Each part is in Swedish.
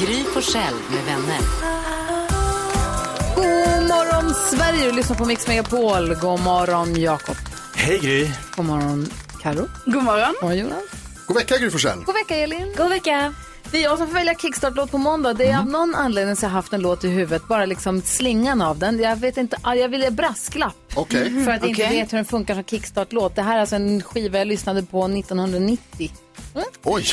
Gry Forssell med vänner. God morgon Sverige, du lyssnar på Mix Megapol. God morgon Jakob. Hej Gry! God morgon Karo. God morgon. God morgon Jonas. God vecka Gry Forssell. God vecka Elin. God vecka. Det är jag som får välja kickstart-låt på måndag. Det är av någon anledning så jag har haft en låt i huvudet, bara liksom slingan av den. Jag vet inte, ah, jag ville brasklapp. Okej. Mm-hmm. För att jag inte Okej. vet hur den funkar som kickstart-låt. Det här är alltså en skiva jag lyssnade på 1990. Oj.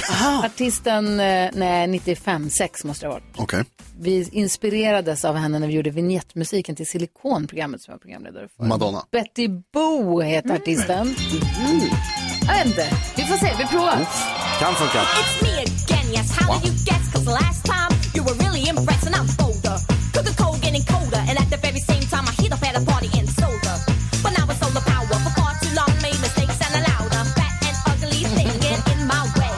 Artisten, eh, nej 95, 6 måste det ha varit. Okej. Vi inspirerades av henne när vi gjorde vignettmusiken till Silikonprogrammet som jag var programledare för. Madonna. Betty Boo heter artisten. Mm. Jag vet inte. Vi får se, vi provar. Kan funka. It's me again, yes. How did you guess? Cause last time you were really impressed and I'm bolder. Cooking cold, getting colder, and at the very same time I heat up at a party and soda. But now it's all the power. For far too long, made mistakes and allowed a fat and ugly thing get in my way.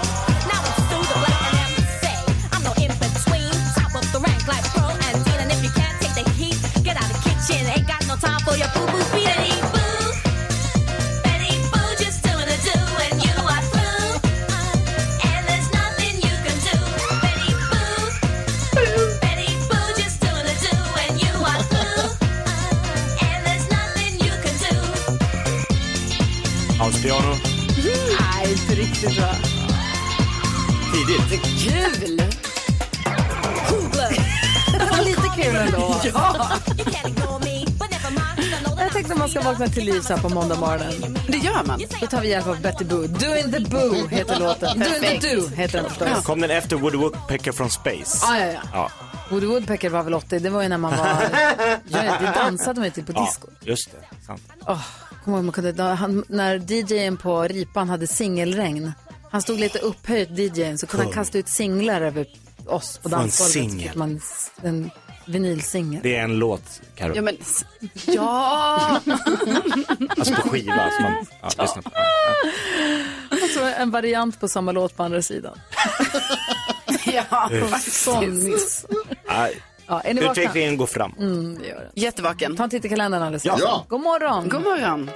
Now it's through the black and I'm say I'm no in between. Top of the rank like Pearl and Dean. And if you can't take the heat, get out of the kitchen. Ain't got no time for your boo boo feet. Betty Boo, Betty Boo, just doing a do, and you are through. And there's nothing you can do, Betty Boo. Betty Boo, just doing a do, and you are through. And there's nothing you can do. House-piano. Nej, inte riktigt bra. Tidigt. Kul! Lite kul ändå. You can't ignore me, but never mind. 'cause I know that Jag tänkte man ska vakna till liv så här på måndag morgonen. Det gör man. Då tar vi hjälp av Betty Boo. Doing the Boo heter låten. Doing the Do heter den förstås. Kom den efter Woody Woodpecker från Space? Ja, ja, ja. Ja, Woody Woodpecker var väl 80, det var ju när man var... Ja, det dansade man ju till Typ på ja disco. just det. Sant. Åh, kommer ihåg man kunde, da- han, när DJn på Ripan hade singelregn, han stod lite upphöjt DJn så kunde han kasta ut singlar över oss på en dansgolvet. Så singel. fick man s- en vinylsingel. Det är en låt, Karo. Ja, men, s- ja. Alltså på skiva. Som man, ja, lyssnar på. Och så Alltså, en variant på samma låt på andra sidan. ja. Eh. Sån miss. Ja. Ja, är ni Ja. vakna? Utvecklingen går fram. Mm, Jättevaken. Ta en titt i kalendern alldeles Ja. strax. God morgon. God morgon.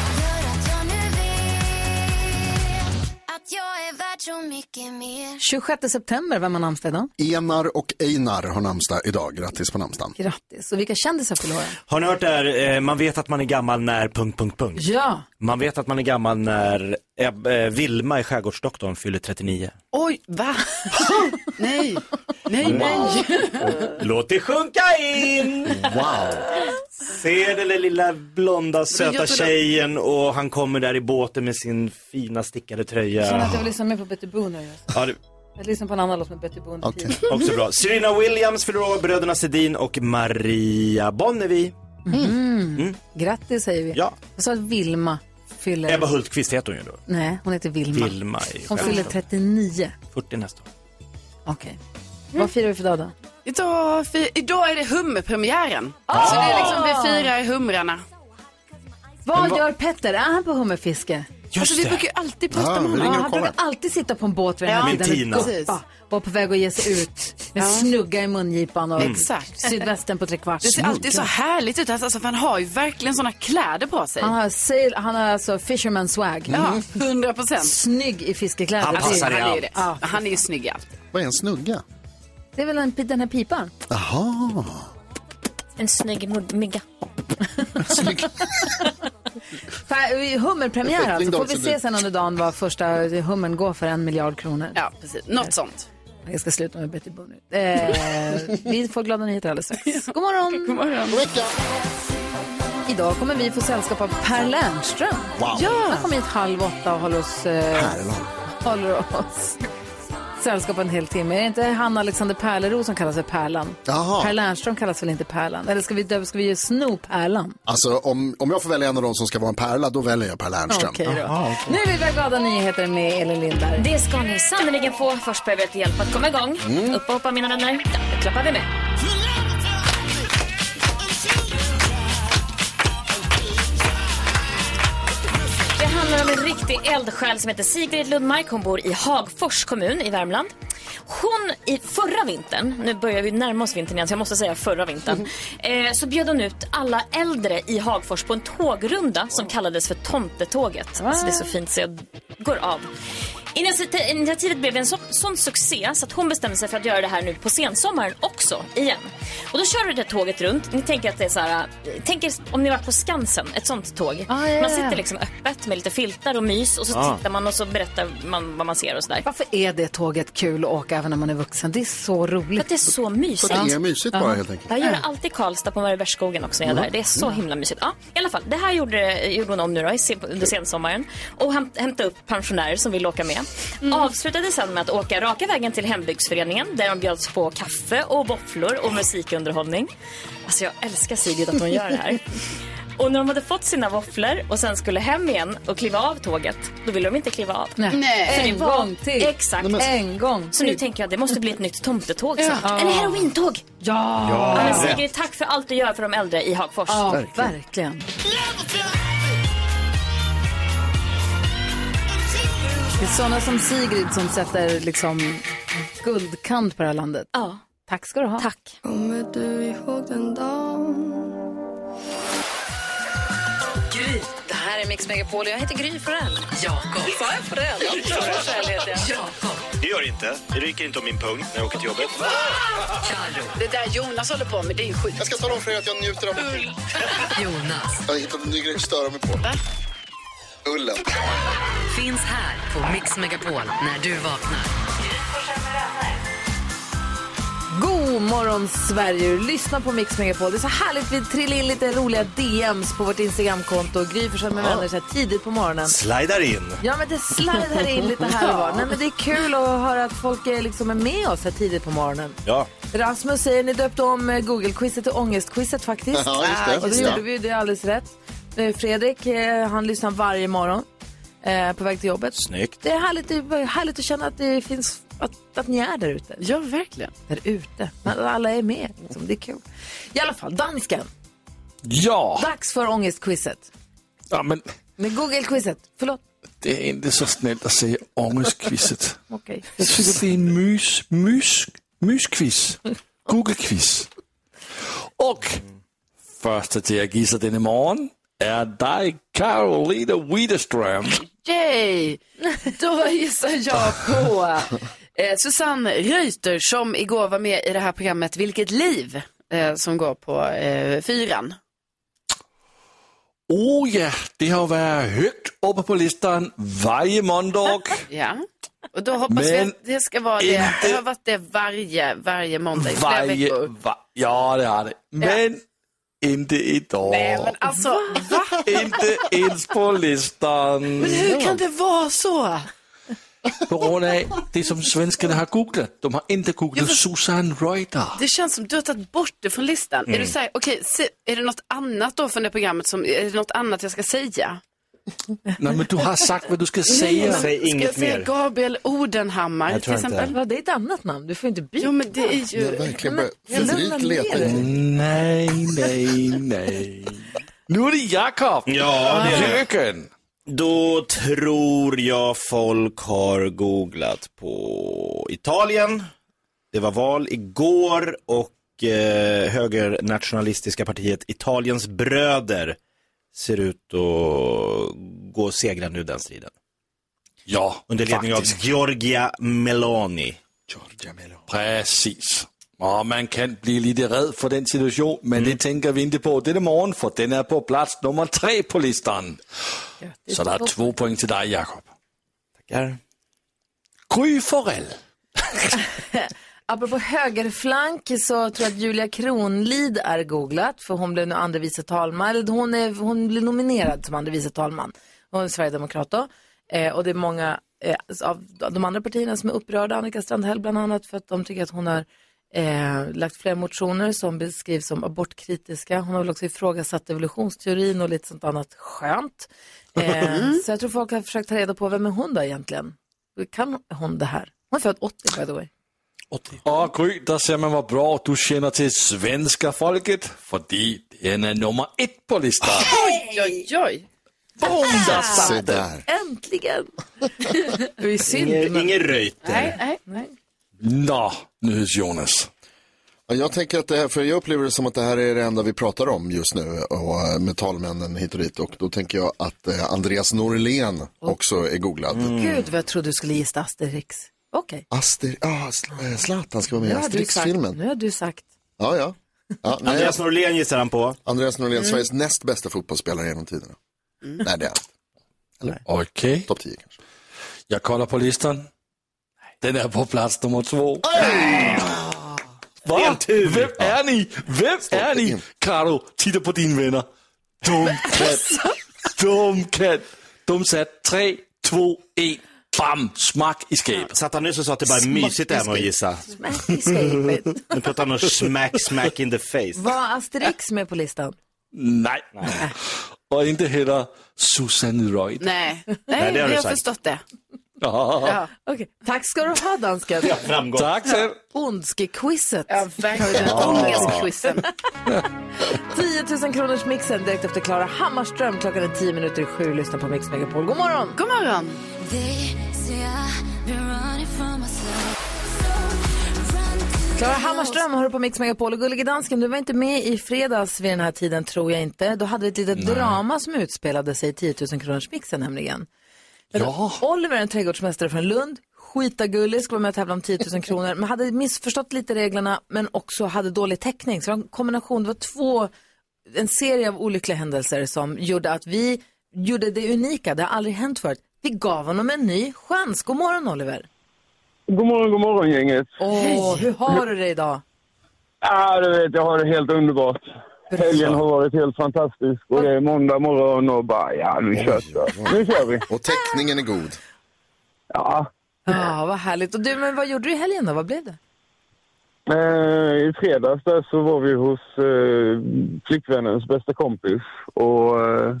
Gör att jag nu vet att jag är värd så mycket mer 26 september, vem har namnsdag idag? Enar och Einar har namnsdag idag. Grattis på namnsdagen. Grattis. Och vilka kändisar fyller år? Har ni hört det här, eh, man vet att man är gammal när... Punkt, punkt, punkt. Ja. Man vet att man är gammal när Eb- eh, Vilma i Skärgårdsdoktorn fyller 39. Oj, va? nej, nej, nej. Låt det sjunka in! Wow. Ser den där lilla blonda söta jag tror- tjejen och han kommer där i båten med sin fina stickade Jag känner tröja. att jag vill lyssna mer på Betty Boon nu. Ja, det... Jag lyssnar på en annan låt med Betty Boon. Okej. Också bra. Serena Williams fyller år, bröderna Sedin och Maria Bonnevie. Mm. Mm. Grattis säger vi. Ja. Jag sa att Vilma fyller... Ebba Hultqvist heter hon ju då. Nej, hon heter Vilma. Vilma i Hon fyller Skärgårdsdoktorn. 39. 40 nästa år. Okej. Vad firar vi för dag då? Idag, fi- idag är det hummerpremiären. Ah. Så det är liksom, vi firar humrarna. Vad gör Petter? Är han på hummerfiske? Just Alltså, vi det. brukar ju alltid prata Ah, med vi honom. ringer han och kollar. brukar alltid sitta på en båt vid den här Ja. Min tiden Tina. och Precis. goppa. Var på väg att ge sig ut med snugga i mungipan Mm. och Exakt. sydvästen på tre kvart. Det ser alltid så härligt ut. Alltså, för han har ju verkligen såna kläder på sig. Han har, sail, han har alltså fisherman swag. Mm. Ja, hundra procent. Snygg i fiskekläder. Han Det är- passar i Han är ju det. Ja. Han är ju snygg i allt. Vad är en snugga? Det är väl en, den här pipan? Jaha. En snygg mod- mygga. Fa- Hummerpremiär alltså. Utveckling Får då, vi så se det- sen under dagen vad första hummern går för en miljard kronor. Ja, precis. Något sånt. Jag ska sluta med Betty Boon nu. Eh, vi får glada nyheter alldeles strax. God morgon! God morgon. Idag kommer vi få sällskap av Per Lernström. Wow. Ja. Han kommer hit halv åtta och håller oss, eh, Pärlan. håller oss sällskap en hel timme. Är det inte han Alexander Pärleros som kallas för Pärlan? Jaha. Per Lernström kallas väl inte Pärlan? Eller ska vi, döpa- ska vi ge Sno Pärlan? Alltså om, om jag får välja en av dem som ska vara en pärla, då väljer jag Per Lernström. Okej då. Nu vill vi ha glada nyheter med Elin Lindberg. Det ska ni sannerligen få. Först behöver jag lite hjälp att komma igång. Mm. Upp och hoppa mina vänner. Där klappar vi med. Det handlar om en riktig eldsjäl som heter Sigrid Lundmark. Hon bor i Hagfors kommun i Värmland. Hon, i förra vintern, nu börjar vi närma oss vintern igen så jag måste säga förra vintern, eh, så bjöd hon ut alla äldre i Hagfors på en tågrunda som kallades för Tomtetåget. Alltså det är så fint så jag går av. Initiati- Initiativet blev en så, sån succé så att hon bestämde sig för att göra det här nu på sensommaren också igen. Och då körde det tåget runt. Ni tänker att det är så här, eh, tänk er om ni var på Skansen, ett sånt tåg. Ah, ja, ja, Man sitter ja. liksom öppet med lite filtar och mys och så tittar man och så berättar man vad man ser och sådär. Varför är det tåget kul att åka även när man är vuxen? Det är så För roligt. att det är så Så mysigt. det är mysigt bara helt enkelt. Mm. Jag gör det alltid i Karlstad på Mariebergsskogen också när jag är där. Det är så himla mysigt. Ja, i alla fall, det här gjorde, gjorde hon om nu då, i sen- under sensommaren och häm- hämtade upp pensionärer som ville åka med. Mm. Avslutade sen med att åka raka vägen till hembygdsföreningen där de bjöds på kaffe och våfflor och musikunderhållning. Alltså jag älskar Sigrid att hon gör det här. Och när de hade fått sina våfflor och sen skulle hem igen och kliva av tåget, då ville de inte kliva av. Nej. det En var- gång till. Exakt. En gång Så nu till. tänker jag att det måste bli ett nytt tomtetåg snart. Eller herointåg. Ja! Men Sigrid, tack för allt du gör för de äldre i Hagfors. Ja, verkligen. Det är sådana som Sigrid som sätter liksom guldkant på det här landet. Ja, Tack ska du ha. tack. Det här är Mix Megapol och jag heter Gry Forell. Det gör det inte. Det ryker inte om min pung när jag åker till jobbet. Det där Jonas håller på med, det är ju skit. Jag ska tala om för er att jag njuter av Jonas. Jag har hittat en ny grej att störa mig på. Ullen. Finns här på Mix Megapol när du vaknar. God morgon Sverige, du lyssnar på Mix Megapol. Det är så härligt, vi trillar in lite roliga DMs på vårt Instagramkonto. Gry Forssell med vänner så här tidigt på morgonen. Slidar in. Ja men det sladdar in lite här och var. Nej men det är kul att höra att folk är liksom är med oss här tidigt på morgonen. Ja. Rasmus säger ni döpte om eh, Google-quizet till ångestquizet faktiskt. Ja, just det. Och Just det det. gjorde vi, ju, det är alldeles rätt. Eh, Fredrik, eh, han lyssnar varje morgon eh, på väg till jobbet. Snyggt. Det är härligt, det är härligt att känna att det finns, att, att ni är där ute. Ja, verkligen. Där ute. Men Alla är med, liksom. det är kul. I alla fall, dansken. Ja, Dags för ångestquizet. ja men Med Google-quizet, förlåt. det är inte så snällt att säga ångestquizet. Okej. Jag tycker det är en mys, mys, mysquiz. Mm. Google-quiz. Och första till att gissa denna morgon är dig Carolina Widerström. Yay! Då gissar jag på eh, Susanne Reuter som igår var med i det här programmet Vilket liv? Eh, som går på eh, fyran. Oh ja, det har varit högt uppe på listan varje måndag. Ja. Och då hoppas vi Men att det ska vara det. inte- Det har varit det varje, varje måndag i flera Varje, veckor. va, ja, det har det. Men inte idag. Nej, men alltså, va? Inte ens på listan. Hur kan det vara så? På grund av det som svenskarna har googlat. De har inte googlat Susanne Reuter. Det känns som du har tagit bort det från listan. Är du Mm. så här, okej, se- är det något annat då från det programmet som, är det något annat jag ska säga? Mm. Nej, men du har sagt vad du ska Säg säga. Ska jag inget säga mer. Gabriel Odenhammar Jag till tror inte. exempel? Ja, det är ett annat namn, du får inte byta. Jo men det är Jag har ju, verkligen börjat jag lugnar febrilt ner leta dig. i Nej, nej, nej. Nu är det Jakob. Ja, det är det. Jöken. Då tror jag folk har googlat på Italien. Det var val igår och eh, högernationalistiska partiet Italiens bröder ser ut att gå segrande ur den striden. Ja, Under ledning faktiskt. av Giorgia Meloni. Precis. Och man kan bli lite rädd för den situation, men det tänker vi inte på denna morgon, för den är på plats nummer tre på listan. Så det är två poäng till dig, Jakob. Tackar. Gry Forell. Apropå högerflank så tror jag att Julia Kronlid är googlat för hon blev nu andre vice talman. Eller hon, är, hon blev nominerad som andre vice talman. Hon är sverigedemokrat då. Eh, och det är många eh, av de andra partierna som är upprörda, Annika Strandhäll bland annat, för att de tycker att hon har eh, lagt flera motioner som beskrivs som abortkritiska. Hon har väl också ifrågasatt evolutionsteorin och lite sånt annat skönt. Eh, så jag tror folk har försökt ta reda på vem är hon då egentligen? Kan hon det här? Hon är född 80 by the way. Och Gry, där ser man vad bra du känner till svenska folket, för den är nummer ett på listan. Oj, oj, oj. Ah. Boom, där satt Se den. där. Äntligen. Det är synd. Ingen- men- ingen röjter. Nej, nej, nej. Nå, Jonas. Ja, jag tänker att det här, för jag upplever det som att det här är det enda vi pratar om just nu och eh, Metallmännen hit och dit och då tänker jag att eh, Andreas Norlén också är googlad. Mm. Mm. Gud vad jag trodde du skulle gissa Asterix. Okej. Aster, ah, Sl- eh, Zlatan ska vara med i Nu har du sagt- Asterix-filmen. Nu har du sagt. Ja, ja. ja nej, Andreas Norlén gissar han på. Andreas Norlén, Mm. Sveriges näst bästa fotbollsspelare genom tiderna. Mm. Nej, det är han. Okej. Okay. Topp 10 kanske. Jag kollar på listan. Den är på plats nummer två. Va? Vem är ni? Vem är ni? Karo, titta på din vänner. Dumkatt. alltså. Dumkatt. De satt tre, två, ett. Bam! Smack i skapet. Satt han nyss och sa att det bara är mysigt det här med att gissa? Smack i skapet. Nu pratar han om smack, smack in the face. Var Asterix med på listan? Nej. Och inte heller Susanne Reuter. Nej, nej, Nej, det har vi du har sagt. förstått det. Ja. Ja. Okej. Tack ska du ha dansken. Ja, framgång. Tack själv. Ondskequizet. Ja, verkligen. Ångestquizen. 10 000 kronors mixen direkt efter Klara Hammarström. Klockan är 10 minuter i sju. Lyssna på Mix Megapol. God morgon. God morgon. Klara Hammarström hör du på Mix Megapol. Och Gullige Dansken, du var inte med i fredags vid den här tiden, tror jag inte. Då hade vi ett litet Nej. drama som utspelade sig i 10 000 kronors mixen nämligen. Ja. Oliver, en trädgårdsmästare från Lund, skitagullig, skulle vara med och tävla om 10 000 kronor, men hade missförstått lite reglerna, men också hade dålig täckning. Så det var en kombination, det var två, en serie av olyckliga händelser som gjorde att vi gjorde det unika, det har aldrig hänt förut. Vi gav honom en ny chans. God morgon Oliver! God morgon, god morgon gänget. Åh, hur har du det idag? Ja, du vet, jag har det helt underbart. Helgen har varit helt fantastisk och det är måndag morgon och bara, ja, nu kör vi. Nu kör vi. Och täckningen är god. Ja, Ja, vad härligt. Och du, men vad gjorde du i helgen då? Vad blev det? eh, i fredags där så var vi hos eh, flickvännens bästa kompis och eh,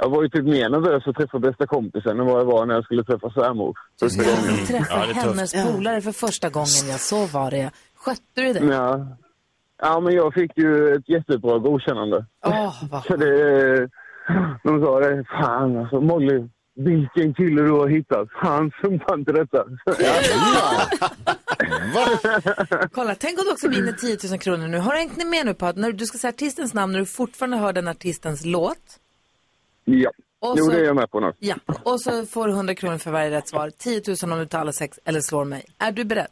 jag var ju typ mer nervös att träffa bästa kompisen än vad jag var när jag skulle träffa svärmor. Första gången. Träffa hennes polare för första gången, jag så var det. Skötte du det? Ja. ja, men jag fick ju ett jättebra godkännande. Så det, de sa det, fan alltså Molly, vilken kille du har hittat. Han sumpar inte detta. Kolla, tänk om du också vinner 10 000 kronor nu. Har du hängt med nu på att när du ska säga artistens namn när du fortfarande hör den artistens låt? Ja, Och jo så- det är jag med på nu. Ja, och så får du 100 kronor för varje rätt svar. 10 000 om du tar alla sex eller slår mig. Är du beredd?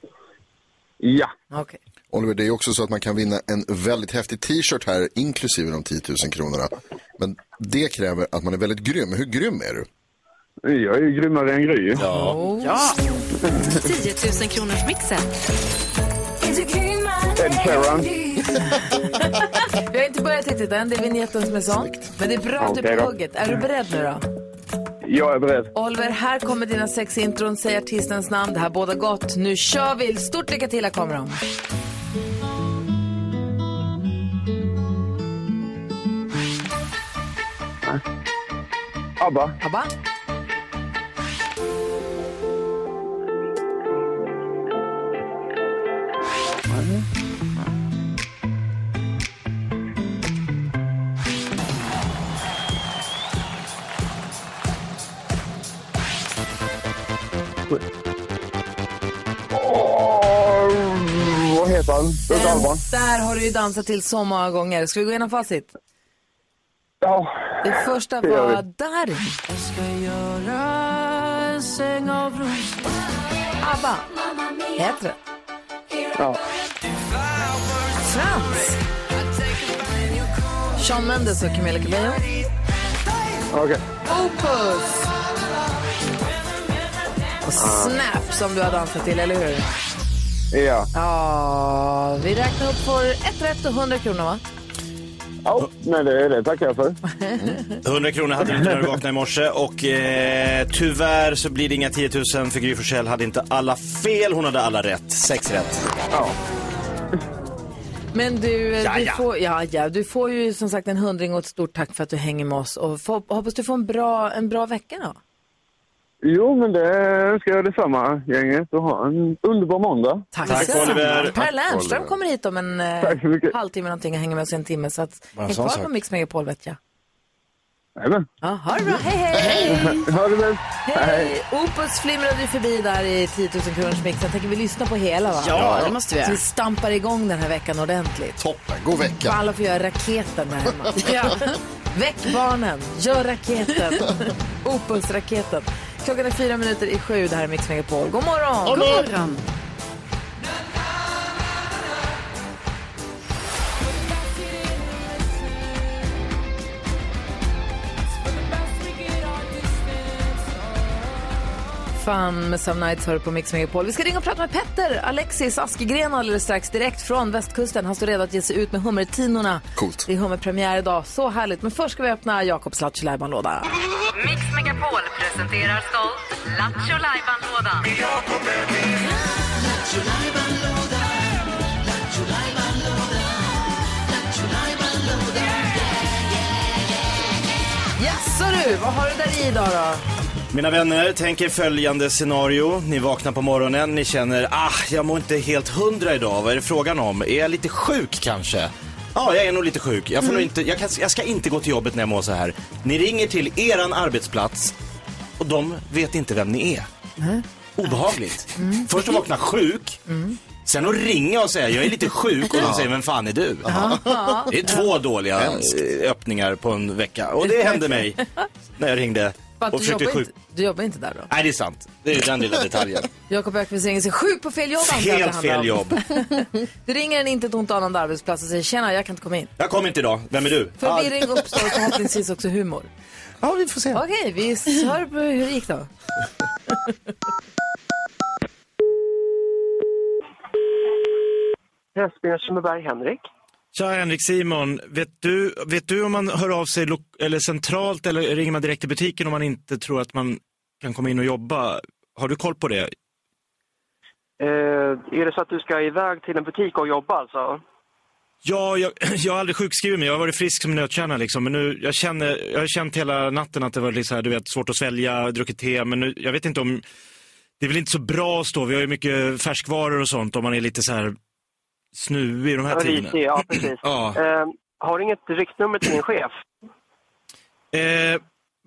Ja. Okej. Oliver, det är också så att man kan vinna en väldigt häftig t-shirt här, inklusive de 10 000 kronorna. Men det kräver att man är väldigt grym. Hur grym är du? Jag är ju grymmare än Gry. Ja. Ja. 10 000 kronors mixen. Ed Sheeran. Vi har inte börjat riktigt än, det är vignetten som är sån. Men det är bra att du är Okej på då. hugget. Är du beredd nu då? Jag är beredd. Oliver, här kommer dina sex intron. Säg artistens namn. Det här båda gott. Nu kör vi! Stort lycka till, här kommer de. ABBA. ABBA. Åh, vad heter han? Bruce Alban. Där har du ju dansat till så många gånger. Ska vi gå igenom facit? Ja. Det första det gör var vi. Darin. ABBA. Heter det? Ja. Frans. Sean Mendes och Camilla Cabello. Okej. Opus. Och Snap som du har dansat till, eller hur? Ja. Ja, vi räknar upp för ett rätt och 100 kronor, va? Ja, nej, det, det tackar jag för. 100 kronor hade du inte när du vaknade i morse och eh, tyvärr så blir det inga 10 000 för Gry Forssell hade inte alla fel, hon hade alla rätt. Sex rätt. Men du, eh, Ja, du, ja. Får, ja, ja, du får ju som sagt en hundring och ett stort tack för att du hänger med oss. Och få, hoppas du får en bra, en bra vecka då. Jo, men det ska jag detsamma, gänget. Och ha en underbar måndag. Tack, Per Lernström kommer hit om en eh, Tack så mycket. halvtimme någonting och hänger med oss i en timme. Så att, Bara en häng sån kvar på sak. Mix Megapol vet jag. Jajamän. Ja, ha det bra, hej hej! Ha det bäst. Hej! Opus flimrade ju förbi där i 10 000 kronors mixen. Tänker vi lyssna på hela va? Ja, det måste vi Så göra. vi stampar igång den här veckan ordentligt. Toppen, god vecka. Alla får göra raketen där hemma. Ja. Väck barnen, gör raketen. Opus-raketen. Klockan är fyra minuter i sju, det här är Mix Megapol. God morgon! God morgon. Fan med Some Nights hör på Mix Megapol. Vi ska ringa och prata med Petter Alexis Askegren alldeles strax direkt från västkusten. Han står redo att ge sig ut med hummertinorna. Coolt. Det är hummerpremiär idag. Så härligt. Men först ska vi öppna Jakobs Lattjo låda Mix Megapol presenterar stolt Lattjo Lajban-lådan. Jaså du, vad har du där i idag då? Mina vänner, tänk er följande scenario. Ni vaknar på morgonen, ni känner ah, jag mår inte helt hundra idag. Vad är det frågan om? Är jag lite sjuk kanske? Ja, jag är nog lite sjuk. Jag, får Mm. nog inte, jag, kan, jag ska inte gå till jobbet när jag mår så här. Ni ringer till eran arbetsplats och de vet inte vem ni är. Obehagligt. Först att vakna sjuk, Mm. sen att ringa och säga jag är lite sjuk och de Ja. säger vem fan är du? Ja. Det är två dåliga eh, öppningar på en vecka och det hände mig när jag ringde För att och du, försökte jobbar sjuk... inte, du jobbar inte där då? Nej, det är sant. Det är den lilla detaljen. Jakob Ökvist ringer sig sjuk på fel jobb. antar jag att det Helt handlar fel om. jobb. Du ringer en inte ett ont anande arbetsplats och säger tjena, jag kan inte komma in. Jag kom inte idag. Vem är du? Förvirring uppstår och förhoppningsvis också humor. Ja, vi får se. Okej, vi s- hör på hur det gick då. Pressbyrå Sundbyberg, Henrik. Tja Henrik Simon, vet du, vet du om man hör av sig lo- eller centralt eller ringer man direkt till butiken om man inte tror att man kan komma in och jobba? Har du koll på det? Eh, är det så att du ska iväg till en butik och jobba alltså? Ja, jag, jag har aldrig sjukskrivit mig, jag har varit frisk som en nötkärna liksom. Men nu, jag, känner, jag har känt hela natten att det var lite så här, du vet, svårt att svälja, druckit te, men nu, jag vet inte om, det är väl inte så bra att stå, vi har ju mycket färskvaror och sånt om man är lite så här snuvig i de här Ja, tiderna. lite, ja, precis. Ja. Eh, har du inget riktnummer till din chef? Eh,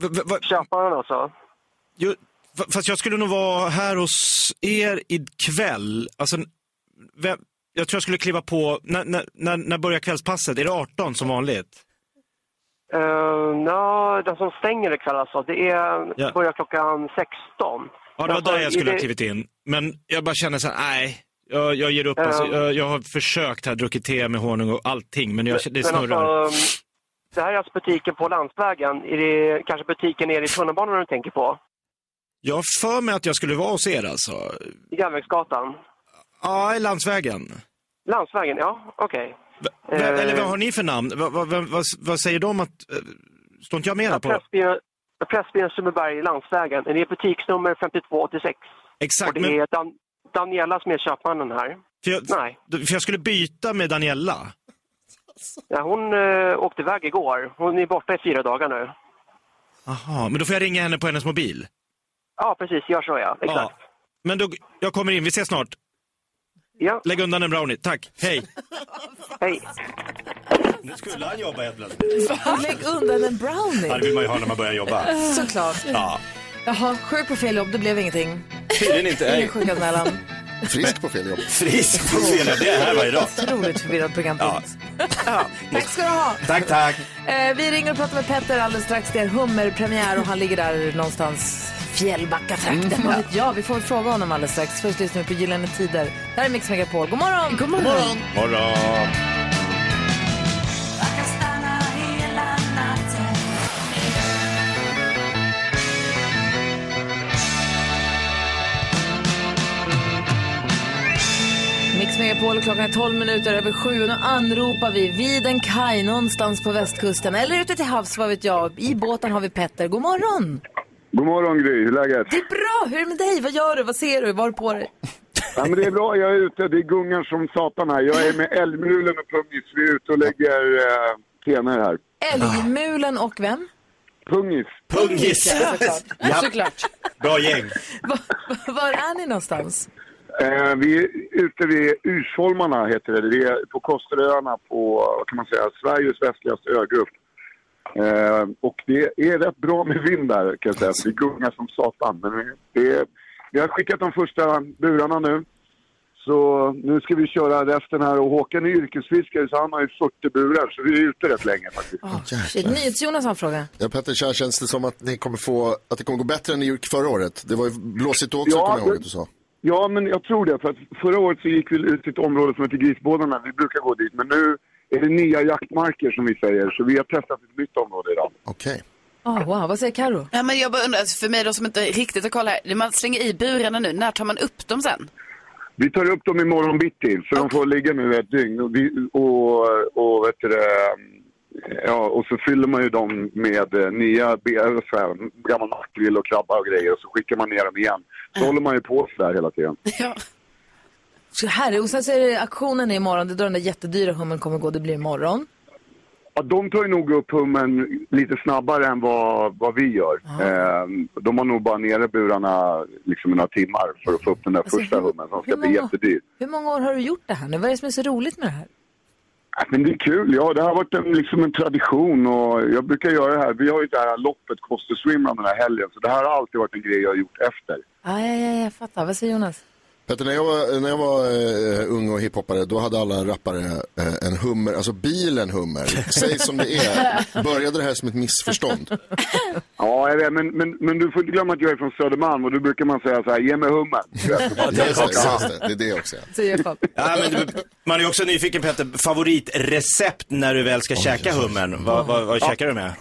v- v- Köparen alltså? Jo, fa- fast jag skulle nog vara här hos er ikväll. Alltså, vem, jag tror jag skulle kliva på, när, när, när, när börjar kvällspasset? Är det 18 som vanligt? Eh, Nja, den som stänger ikväll alltså, det är, Ja. börjar klockan 16. Ja, det var Alltså, där jag skulle ha är det- klivit in. Men jag bara känner så här, nej. Jag, jag ger upp. Alltså, Ehm. jag, jag har försökt här, druckit te med honung och allting, men jag, det Men alltså, snurrar. um, det här är alltså butiken på landsvägen. Är det kanske butiken nere i tunnelbanan du tänker på? Jag har för mig att jag skulle vara hos er alltså. I Järnvägsgatan? Ja, i landsvägen. Landsvägen, ja, okej. V- Eh. Eller vad har ni för namn? Vad- vad- vad- vad- vad säger de att... eh, Står inte jag med där på? Pressbyrån- Pressbyrån Sundbyberg, Landsvägen. Det är butiksnummer 5286. Exakt, Och det men- är Dan Daniela som är köpmannen här. För jag, Nej. för jag skulle byta med Daniela. Ja, hon eh, åkte iväg igår. Hon är borta i fyra dagar nu. Aha, men då får jag ringa henne på hennes mobil. Ja, precis. Gör så ja. Exakt. Ja. Men då, jag kommer in, vi ses snart. Ja. Lägg undan en brownie, tack. Hej. Hej. Nu skulle han jobba helt plötsligt. Lägg undan en brownie. Ja, det vill man ju ha när man börjar jobba. Såklart. Ja. Jaha, sjuk på fel jobb, det blev ingenting. Tydligen inte. Ingen sjukanmälan. Frisk på fel jobb. Frisk på fel jobb, det är här varje dag. Otroligt förvirrad programpunkt. Tack ska du ha. Tack, tack. Eh, vi ringer och pratar med Petter alldeles strax. Det är hummerpremiär och han ligger där någonstans Fjällbackatrakten. Vad vet jag? Vi får väl fråga honom alldeles strax. Först lyssnar vi på Gyllene Tider. Det här är Mix Megapol. God morgon! God morgon! Morgon. Mix Megapol och klockan är 12 minuter över sju. Och nu anropar vi vid en kaj någonstans på västkusten eller ute till havs, vad vet jag. I båten har vi Petter. God morgon! God morgon Gry, hur är läget? Det är bra! Hur är det med dig? Vad gör du? Vad ser du? Vad har du på dig? Ja, men det är bra, jag är ute. Det gungar som satan här. Jag är med älgmulen och pungis. Vi är ute och lägger eh, stenar här. Älgmulen och vem? Pungis. Pungis, ja, såklart. Ja. Såklart. Bra gäng. Var är ni någonstans? Eh, vi är ute vid Ursholmarna heter det. Det är på Kosteröarna på, vad kan man säga, Sveriges västligaste ögrupp. Eh, och det är rätt bra med vind där kan jag säga. Så Det gungar som satan. Men det är, vi har skickat de första burarna nu. Så nu ska vi köra resten här och Håkan är yrkesfiskare så han har ju 40 burar så vi är ute rätt länge faktiskt. Shit, NyhetsJonas har en fråga. Ja, Petter, så här känns det som att, ni kommer få, att det kommer gå bättre än ni gjort förra året. Det var ju blåsigt då också, Ja, kommer jag ihåg det- att du sa. Ja, men jag tror det. För att förra året så gick vi ut till ett område som heter Grisbådarna. Vi brukar gå dit. Men nu är det nya jaktmarker som vi säger. Så vi har testat ett nytt område idag. Okej. Oh, wow, vad säger Karo? Ja, men jag bara undrar, alltså, för mig då som inte riktigt har koll här, man slänger i burarna nu, när tar man upp dem sen? Vi tar upp dem imorgon bitti. Så de får ligga nu ett dygn. Och, vi, och, och vet du det, Ja, och så fyller man ju dem med eh, nya, be- eller så här, gammal makrill och krabba och grejer. Och så skickar man ner dem igen. Så håller man ju på sådär hela tiden. Så här, och sen så är det auktionen är imorgon. Det är då den där jättedyra hummen kommer gå. Det blir imorgon. Ja, de tar ju nog upp hummen lite snabbare än vad, vad vi gör. Ehm, de har nog bara nere burarna liksom i några timmar för att få upp den där första hummen som ska bli många- jättedyr. Hur många år har du gjort det här nu? Vad är det som är så roligt med det här? Äh, Men det är kul, ja det har varit en, liksom en tradition och jag brukar göra det här. Vi har ju det här loppet, Costa Swimrun den här helgen, så det här har alltid varit en grej jag har gjort efter. Ah, ja, ja, jag fattar. Vad säger Jonas? Petter, när jag var, när jag var eh, ung och hiphoppare, då hade alla rappare eh, en hummer, alltså bilen hummer. Säg som det är. Började det här som ett missförstånd? Ja, jag vet, men, men, men du får inte glömma att jag är från Södermalm och då brukar man säga så här, ge mig hummen. Ja, det är så, just det. Det är det också. Säger Jakob. Ja, men du- man är ju också nyfiken Petter, favoritrecept när du väl ska käka hummen. Vad, vad, vad käkar du med?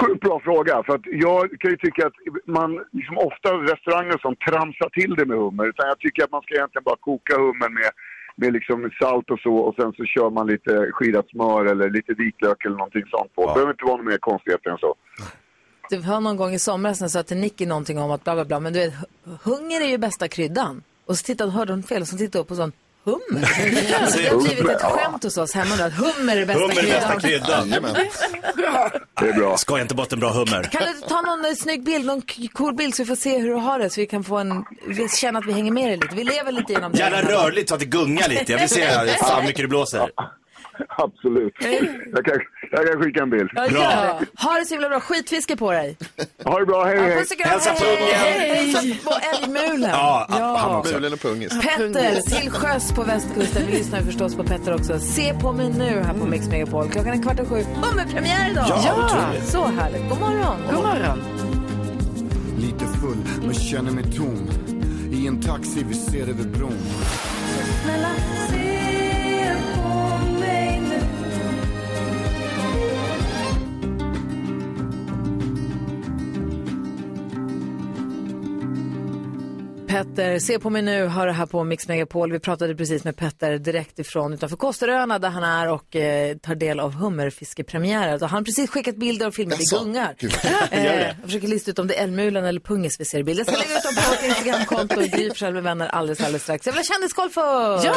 Sjukt bra fråga. För att jag kan ju tycka att man liksom ofta restauranger som tramsar till det med hummer. Utan jag tycker att man ska egentligen bara koka hummen med, med liksom salt och så och sen så kör man lite skirat smör eller lite vitlök eller någonting sånt på. Det behöver inte vara något mer konstigheter än så. Du var någon gång i somras när jag sa till Nicky någonting om att bla bla bla, men du vet, hu- hunger är ju bästa kryddan. Och så tittade, hörde hon fel och så tittade jag upp och sa hummer. alltså, det har blivit ett skämt hos oss hemma nu att hummer är bästa Hummer är bästa kryddan. Det är bra. Ska inte bort en bra hummer. Kan du ta någon eh, snygg bild, någon k- cool bild så vi får se hur du har det så vi kan få en, vi känna att vi hänger med dig lite. Vi lever lite genom det. Gärna rörligt så att det gungar lite. Jag vill se här, fan hur mycket det blåser. Absolut. Jag kan, jag kan skicka en bild. Ja, gör det. Ha det så himla bra. Skitfiske på dig. Ha det bra, hej Ja, hej. puss och kram. Hälsa Hej. pungen. Hej. På älgmulen. Ja, Han också. Mulen och pungis. Petter till sjöss på västkusten. Vi lyssnar ju förstås på Petter också. Se på mig nu här på Mix Megapol. Klockan är kvart och sju. Och med premiär idag! Ja, otroligt. Så härligt. God morgon! God morgon! Lite full, men känner mig tom. I en taxi vi ser över bron. Snälla, se på mig nu Petter, se på mig nu, har det här på Mix Megapol. Vi pratade precis med Petter direkt ifrån utanför Kosteröarna där han är och eh, tar del av hummerfiskepremiären. Och han har precis skickat bilder och filmer. Det Jaså? gungar. Gud. Eh, Gör jag det? försöker lista ut om det är älgmulen eller pungis vi ser i bild. Jag ska lägga ut dem på vårt Instagramkonto och Gry Forssell med vänner alldeles, alldeles strax. Jag vill ha kändiskoll för! Ja!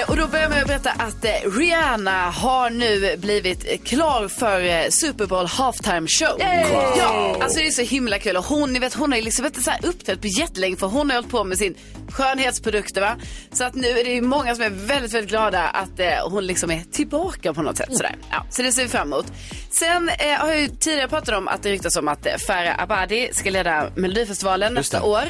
Eh, och då börjar jag med att berätta att eh, Rihanna har nu blivit eh, klar för eh, Super Bowl halftime show. Wow. Ja, alltså det är så himla kul. Och hon, ni vet, hon har ju liksom inte så här uppträtt på jättelänge för hon har hållit på med sin skönhetsprodukter va. Så att nu är det ju många som är väldigt, väldigt glada att eh, hon liksom är tillbaka på något sätt sådär. Ja, så det ser vi fram emot. Sen eh, har jag ju tidigare pratat om att det ryktas om att eh, Farah Abadi ska leda Melodifestivalen Just nästa det. år.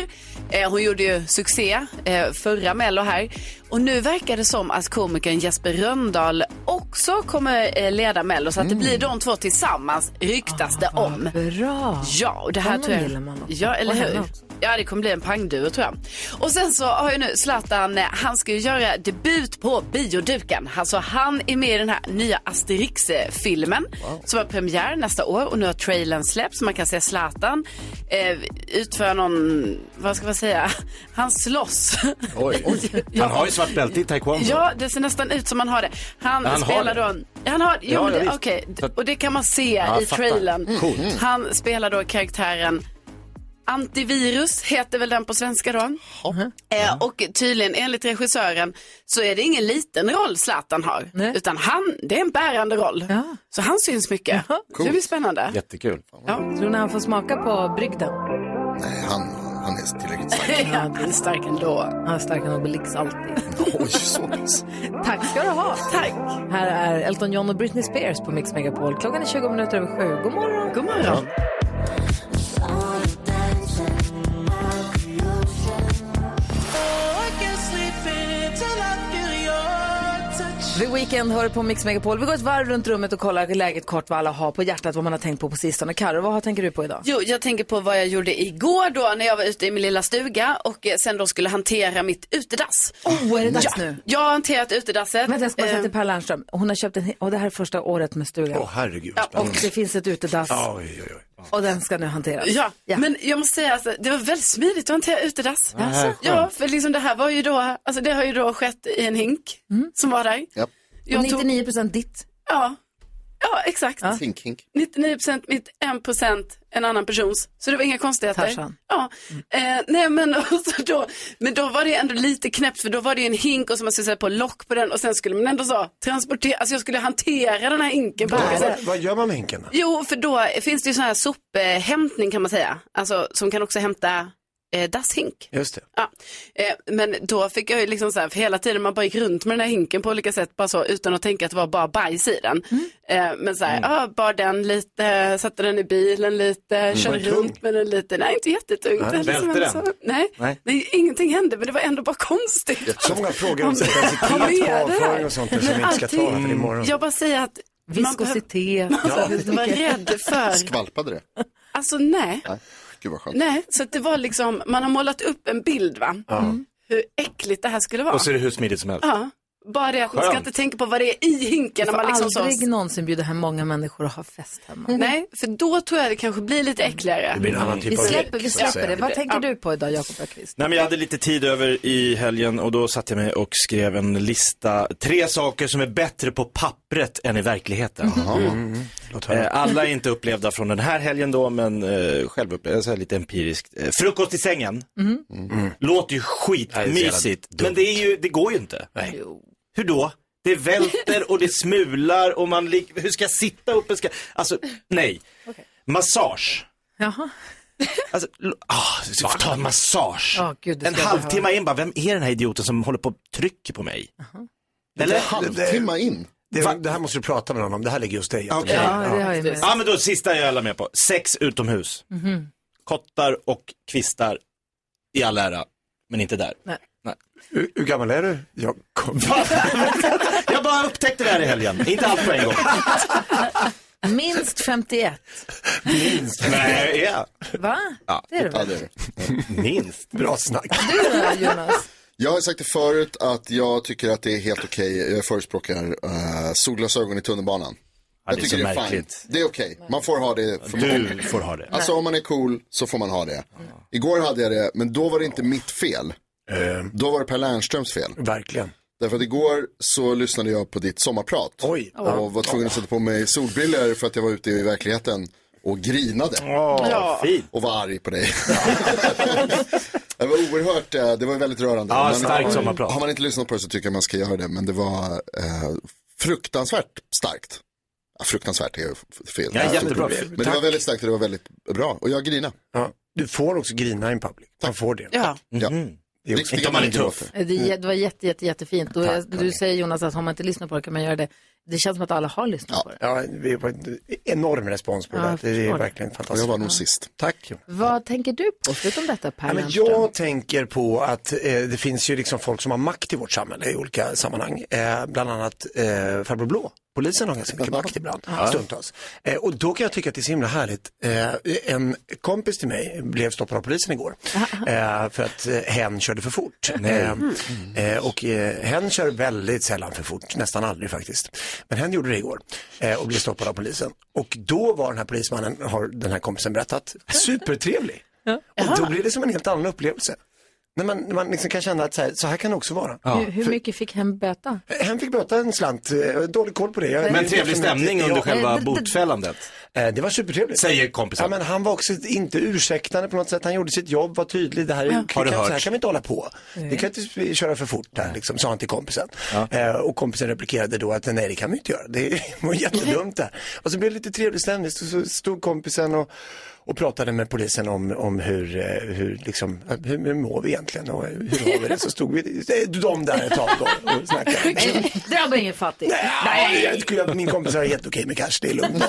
Eh, hon gjorde ju succé eh, förra Mello här. Och nu verkar det som att komikern Jesper Rönndahl också kommer eh, leda Mello. Så att Mm. det blir de två tillsammans ryktas det om. Bra! Ah, Ja, och det här Honom tror jag... gillar man också. Ja, eller Och henne hur? också. Ja, det kommer bli en pangduo tror jag. Och sen så har ju nu Zlatan, eh, han ska ju göra debut på bioduken. Alltså han är med i den här nya Asterix-filmen som har premiär nästa år och nu har trailern släppts. Man kan se Zlatan eh, utföra någon, vad ska man säga, han slåss. Oj. Han har ju svart bälte i taekwondo. Ja, det ser nästan ut som han har det. Han, Han har spelar det. då... en- Han har... Jo, Ja, men ja, det, visst. okej. Så att- Och det kan man se Ja, i fattar. trailern. Coolt. Mm. Han spelar då karaktären Antivirus heter väl den på svenska då. Eh, och tydligen enligt regissören så är det ingen liten roll Zlatan har. Utan han, det är en bärande roll. Så han syns mycket. Det blir spännande. Jättekul. Tror ni han får smaka på brygden? Nej, han, han är tillräckligt stark. Ja, han är stark ändå. Han är stark än Obelix alltid. Oj, så pass. Tack ska du ha. Tack. Här är Elton John och Britney Spears på Mix Megapol. Klockan är 20 minuter över sju. God morgon. God morgon. The Weeknd hör på Mix Megapol. Vi går ett varv runt rummet och kollar läget kort vad alla har på hjärtat, vad man har tänkt på på sistone. Karo, vad har- tänker du på idag? Jo, jag tänker på vad jag gjorde igår då när jag var ute i min lilla stuga och eh, sen då skulle hantera mitt utedass. Oh, är det dags ja, nu? Jag har hanterat utedasset. Vänta, jag ska bara säga Eh, till Per Lernström. Hon har köpt en, he- och det här är första året med stugan. Åh, herregud. Ja, Mm. och det finns ett utedass Oj, oj, oj. och den ska nu hanteras. Ja, men jag måste säga alltså, det var väldigt smidigt att hantera utedass. Ja, Alltså? skönt. Ja, för liksom det här var ju då, alltså det har ju då skett i en hink som var där. Japp. Mm. Och 99 procent ditt. Ja, ja exakt. Hink, hink. 99 procent mitt, 1 procent en annan persons. Så det var inga konstigheter. Tarzan. Ja, eh, nej men och så då, men då var det ändå lite knäppt för då var det ju en hink och så man skulle sätta på lock på den och sen skulle man ändå så transportera, alltså jag skulle hantera den här hinken på olika sätt. Vad, vad gör man med hinken? Jo, för då finns det ju sån här sophämtning kan man säga. Alltså som kan också hämta eh, dasshink. Just det. Ja. Eh, men då fick jag ju liksom så här, för hela tiden man bara gick runt med den här hinken på olika sätt, bara så utan att tänka att det var bara bajs i den. Mm. Eh, men så här, ja, bar den lite, satte den i bilen lite, körde Mm. Var den runt med den lite. Nej, inte jättetungt. Nej, Det är liksom välte en den? sån- Nej. Nej. Nej, ingenting hände, men det var ändå bara konstigt. Så många frågor om Ja, men intensitet det på är det. avföring och sånt där som vi inte ska Allting. ta för imorgon. Jag bara säger att Viskositet. Man behöver inte vara Alltså, rädd för. Skvalpade det? Alltså nej. Nej. Gud vad skönt. Nej, så att det var liksom, man har målat upp en bild va? Ja. Hur äckligt det här skulle vara. Och så är det hur smidigt som helst. Ja, bara det att man ska Skönt. inte tänka på vad det är i hinken när Man man liksom så... aldrig någonsin bjuda hem många människor och ha fest hemma. Nej, för då tror jag det kanske blir lite äckligare. Det blir en annan typ vi av släpper, vi lek, så att släpper det. säga. Vad tänker Ja. du på idag, Jakob Öqvist? Nej, men jag hade lite tid över i helgen och då satte jag mig och skrev en lista. Tre saker som är bättre på pappret än i verkligheten. Mm. Eh, Alla är inte upplevda från den här helgen då, men eh, själv upplevde så här lite empiriskt. Eh, Frukost i sängen. Mm. Låter Nej, det är ju så skitmysigt, jävla dumt. men det, är ju, det går ju inte. Nej. Hur då? Det välter och det smular och man lik- hur ska jag sitta uppe? Ska... Alltså, nej. Massage. Jaha. Alltså, l- ah, så får jag ta en massage. Ja, gud, det en ska jag halvtimme in bara, vem är den här idioten som håller på och trycker på mig? Det- Eller? det- Halvtimme in? Det, det här måste du prata med någon om, det här ligger hos dig. Okej. Ja, men då sista jag alla med på. Sex utomhus. Mhm. Kottar och kvistar i all ära, men inte där. Nej. Hur, hur gammal är du? Jag kom... Jag bara upptäckte det här i helgen, inte allt på en gång. Minst 51. Nej, ja. Va? Ja, Det är det Ja, väl? det är det. Minst. Bra snack. Jonas. Jag har sagt det förut att jag tycker att det är helt okej. Jag förespråkar uh, solglasögon i tunnelbanan. Ja, jag det är tycker så det är märkligt. fint. Det är okej. Man får ha det. Du många. får ha det. Alltså om man är cool så får man ha det. Igår hade jag det, men då var det inte mitt fel. Eh. Då var det Per Lernströms fel. Verkligen. Därför att igår så lyssnade jag på ditt sommarprat. Oj. Och var tvungen att sätta på mig solbriller för att jag var ute i verkligheten och grinade. Ja. fint. Och var arg på dig. det var oerhört, eh, det var väldigt rörande. Ja, Men starkt har man- sommarprat. Har man inte lyssnat på det så tycker jag man ska göra det. Men det var eh, fruktansvärt starkt. Ja, fruktansvärt är ju f- fel. Ja, jättebra. Men det var Tack. väldigt starkt och det var väldigt bra. Och jag grinade. Ja, du får också grina i en public. Man får det. Mm. Ja. Det är också- Inte om man är tuff. Det, är jä- det var jätte, jätte, jättefint. Och jag, du säger Jonas att har man inte lyssnat på det kan man göra det. det känns som att alla har lyssnat på det. Ja, vi har fått en enorm respons på det Ja, där. jag Det är förstår det. verkligen fantastiskt. Jag var nog sist. Tack. Vad tänker du på, förutom detta Per Ja, men Lernström? jag tänker på att eh, det finns ju liksom folk som har makt i vårt samhälle i olika sammanhang. Eh, bland annat eh, Farbror Blå. Polisen har ganska mycket makt ibland, Ja. stundtals. Eh, och då kan jag tycka att det är så himla härligt. Eh, en kompis till mig blev stoppad av polisen igår eh, för att eh, hen körde för fort. Nej. Eh, Mm. Eh, och eh, hen kör väldigt sällan för fort, nästan aldrig faktiskt. Men hen gjorde det igår eh, och blev stoppad av polisen. Och då var den här polismannen, har den här kompisen berättat, supertrevlig. Och då blir det som en helt annan upplevelse. När man, när man liksom kan känna att så här, så här kan det också vara. Hur, hur mycket fick hen böta? För, hen fick böta en slant, eh, jag har dålig koll på det. Jag, Men trevlig stämning under själva botfällandet. Eh, Det var supertrevligt. Säger Ja, kompisen. men han var också inte ursäktande på något sätt. Han gjorde sitt jobb, var tydlig. Det här, är- Ja. Har du kan, så här hört? kan vi inte hålla på. Vi kan inte köra för fort där, liksom, sa han till kompisen. Eh, och kompisen replikerade då att nej, det kan vi inte göra. Det var jättedumt där. Och så blev det lite trevlig stämning. Så, så stod kompisen och, och pratade med polisen om, om hur, eh, hur, liksom, eh, hur, hur mår vi egentligen och hur har vi det. Så stod vi, eh, de där ett tag och, och snackade. Drabba ingen fattig. Nej, jag skulle- min kompis har helt okej med cash, det är lugnt.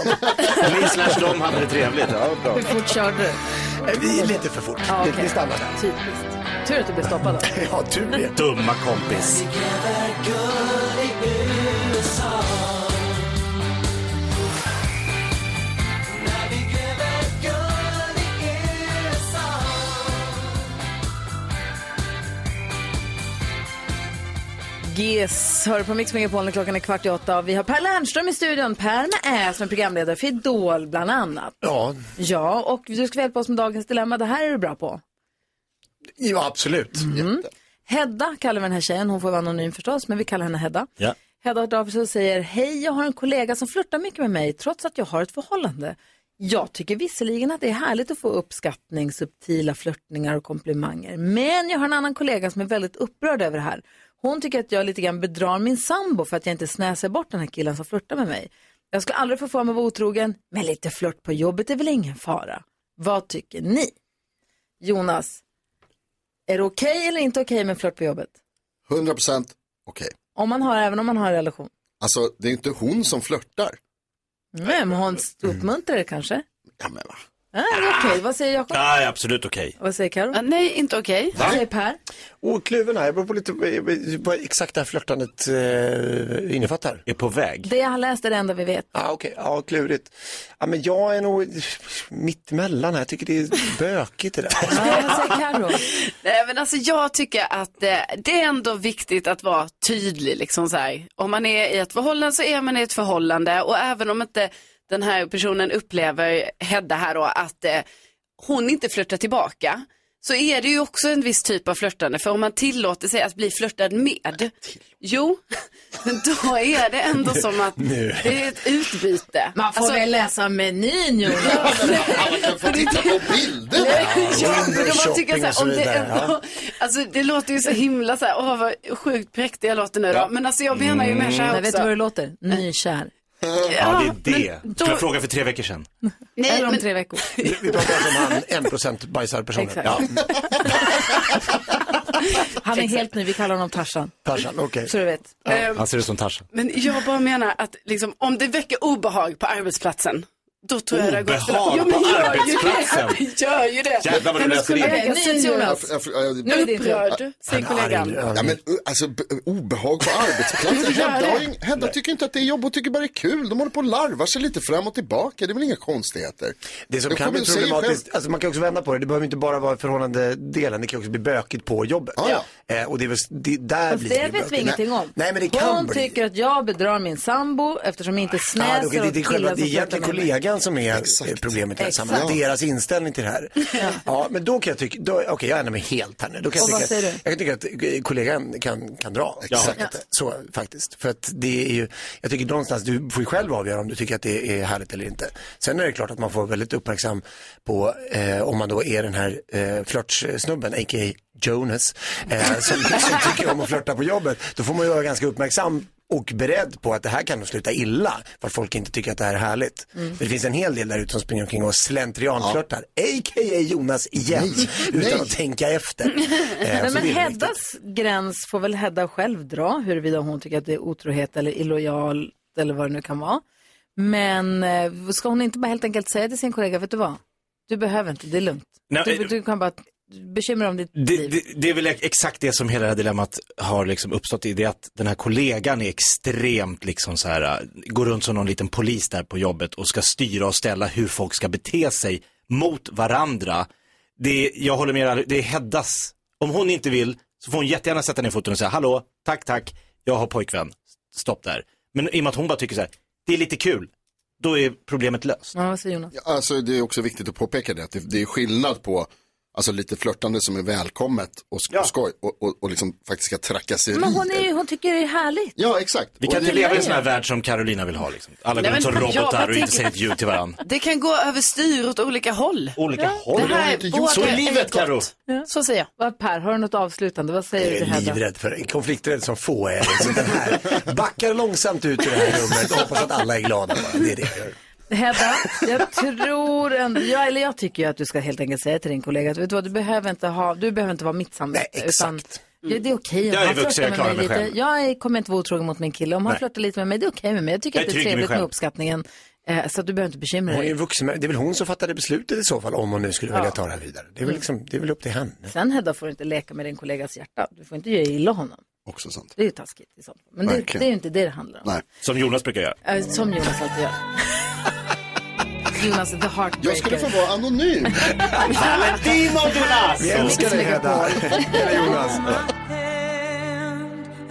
Ni slash de hade det trevligt. Ja, bra. Hur fort körde du? Vi är lite för fort. Ja, Vi- okej. Vi stannar där. Typiskt. Tur att du blev stoppad då. Ja, tur det. Dumma kompis. GES hör på Mix Megapol när klockan är kvart i åtta. Vi har Per Lernström i studion. Per med Ä som är programledare för Idol bland annat. Ja. Ja, och du ska hjälpa oss med dagens dilemma. Det här är du bra på. Ja, absolut. Mm. Hedda kallar vi den här tjejen. Hon får vara anonym förstås, men vi kallar henne Hedda. Ja. Hedda har hört av sig och säger, hej, jag har en kollega som flörtar mycket med mig trots att jag har ett förhållande. Jag tycker visserligen att det är härligt att få uppskattning, subtila flörtningar och komplimanger. Men jag har en annan kollega som är väldigt upprörd över det här. Hon tycker att jag lite grann bedrar min sambo för att jag inte snäser bort den här killen som flörtar med mig. Jag skulle aldrig få för mig att vara otrogen, men lite flört på jobbet är väl ingen fara. Vad tycker ni? Jonas, är det okej eller inte okej med flört på jobbet? 100 procent okej. Om man har, även om man har en relation? Alltså, det är inte hon som flörtar. Nej, men hon uppmuntrar det kanske? Ja, men va? okej. Vad säger Jakob? Nej, absolut okej. Vad säger Karo? Ah, nej, inte okej. Vad säger Per? Och kluven här, jag beror på lite eh, vad exakt det här flörtandet eh, innefattar. Är på väg. Det jag har läst är det enda vi vet. Ja, okej. Ja, klurigt. Ja, men jag är nog mittemellan här. Jag tycker det är bökigt det där. Nej, men alltså jag tycker att eh, det är ändå viktigt att vara tydlig. Liksom så här. Om man är i ett förhållande så är man i ett förhållande och även om inte den här personen upplever, Hedda här då, att eh, hon inte flörtar tillbaka så är det ju också en viss typ av flörtande. För om man tillåter sig att bli flörtad med, jo, då är det ändå som att Nu. det är ett utbyte. Alltså- Man får väl läsa menyn Jonas. Får titta på bilder. Ja, men om man Shopping tycker och så så här, om det, vidare, ändå, alltså, det låter ju så himla så här, åh vad sjukt präktig jag låter nu då. Men alltså jag menar Mm. ju mer så här Nej, Mm. vet också. du vad det låter? Nykär. Ja, det är det. men Då... Jag frågade för tre veckor sedan. Nej, Eller om men- tre veckor. Vi pratar alltså om han 1% bajsar personen. Exakt. Ja, Han är helt ny, vi kallar honom Tarzan. Tarzan, okej. Så du vet. Ehm, Han ser ut som Tarzan. Men jag bara menar att liksom, om det väcker obehag på arbetsplatsen, då tror jag det har gått för långt. Obehag Jo, men på gör ju arbetsplatsen? det. Gör ju det. Jävlar vad du Hennes läser in. kollega, säger Jonas. Jag- jag- jag- Nu är det Upprörd, säger kollegan. Ja, men, uh, alltså, b- obehag på arbetsplatsen. Hedda, har ing- Hedda tycker inte att det är jobb, hon tycker bara det är kul. De håller på och larvar sig lite fram och tillbaka, det är väl inga konstigheter. Det som Jag kan kommer bli säga problematiskt, själv- alltså man kan också vända på det, det behöver inte bara vara förhållandedelen, det kan också bli bökigt på jobbet. Ja, Eh, och det är väl, det, där Fast blir det det vet vi bökigt. ingenting om. Nej men det kan Hon bli. tycker att jag bedrar min sambo eftersom jag inte Ja, snäser det, åt det, det, det, är själva- killar det är som flörtar egentligen med mig. kollegan som är eh, problemet i det här Exakt. sammanhanget. Ja. Deras inställning till det här. Ja, men då kan jag tycka, då- okej jag ändrar mig helt här nu. Då kan Och jag, vad tycka, säger att- jag kan tycka att eh, kollegan kan, kan dra. Ja. Exakt. Ja. Så faktiskt. För att det är ju, jag tycker någonstans, du får ju själv avgöra om du tycker att det är härligt eller inte. Sen är det klart att man får vara väldigt uppmärksam på eh, om man då är den här eh, flörtsnubben, a.k.a. Jonas, eh, som, som tycker om att flörta på jobbet. Då får man ju vara ganska uppmärksam och beredd på att det här kan nog sluta illa för att folk inte tycker att det här är härligt. Mm. För det finns en hel del där ute som springer omkring och slentrianflörtar, a.k.a. Jonas igen, utan att tänka efter. Eh, Nej, så men det är Heddas gräns får väl Hedda själv dra huruvida hon tycker att det är otrohet eller illojal rätt eller vad det nu kan vara. Men eh, ska hon inte bara helt enkelt säga till sin kollega, vet du vad? Du behöver inte, det är lugnt. Nej, eh, du, du kan bara bekymra dig om ditt Det, det, det är väl exakt det som hela det här dilemmat har liksom uppstått i. Det är att den här kollegan är extremt liksom så här, äh, går runt som någon liten polis där på jobbet och ska styra och ställa hur folk ska bete sig mot varandra. Det är, jag håller med, er, det är Heddas. Om hon inte vill så får hon jättegärna sätta ner foten och säga, hallå, tack, tack, jag har pojkvän, stopp där. Men i och med att hon bara tycker så här, det är lite kul, då är problemet löst. Ja, vad säger Jonas? Alltså det är också viktigt att påpeka det, att det, det är skillnad på Alltså lite flörtande som är välkommet och, sk- och skoj och, och, och liksom faktiska trakasserier. Men hon, är, ju- hon tycker det är härligt. Ja, exakt. Vi Och kan det- inte leva i en sån här värld som Carolina vill ha. Liksom. Alla Nej, går men runt som jag- jag robotar och tänker- inte säger ett ljud till varandra. Det kan gå överstyr åt olika håll. Olika Det här är båda Så är livet gott. Karo. Eh, Ja. Så säger jag. Vad- Per, har du något avslutande? Vad säger du Jag till är Hedda? livrädd för konflikträdd som få är. Liksom den här. Backar långsamt ut ur det här rummet och hoppas att alla är glada bara. Det är det jag gör. Hedda, jag tror ändå, jag, eller jag tycker ju att du ska helt enkelt säga till din kollega att vet du, vad, du, behöver inte ha, du behöver inte vara mitt samvete. Nej, exakt. Utan, ja, det är okej om Jag är han vuxen, flörtar jag klarar med mig mig lite. Jag är- kommer inte vara otrogen mot min kille. Om han Nej. flörtar lite med mig, det är okej med mig. Jag tycker Jag är att det är trygg med mig trevligt med själv. uppskattningen. Eh, så att du behöver inte bekymra Hon är ju dig. vuxen, men det är väl hon som fattade beslutet i så fall om hon nu skulle Ja. vilja ta det här vidare. Det är väl, liksom, det är väl upp till henne. Sen Hedda får du inte leka med din kollegas hjärta. Du får inte göra illa honom. Också sant. Det är ju taskigt i så fall. Men det, det Verkligen. är ju inte det det handlar om. Nej. Som Jonas brukar göra. Eh, Som Jonas alltid gör. Jonas the heartbreaker. Jag skulle få vara anonym. Valentino Jonas! Vi älskar dig, Hedda. Hela Jonas.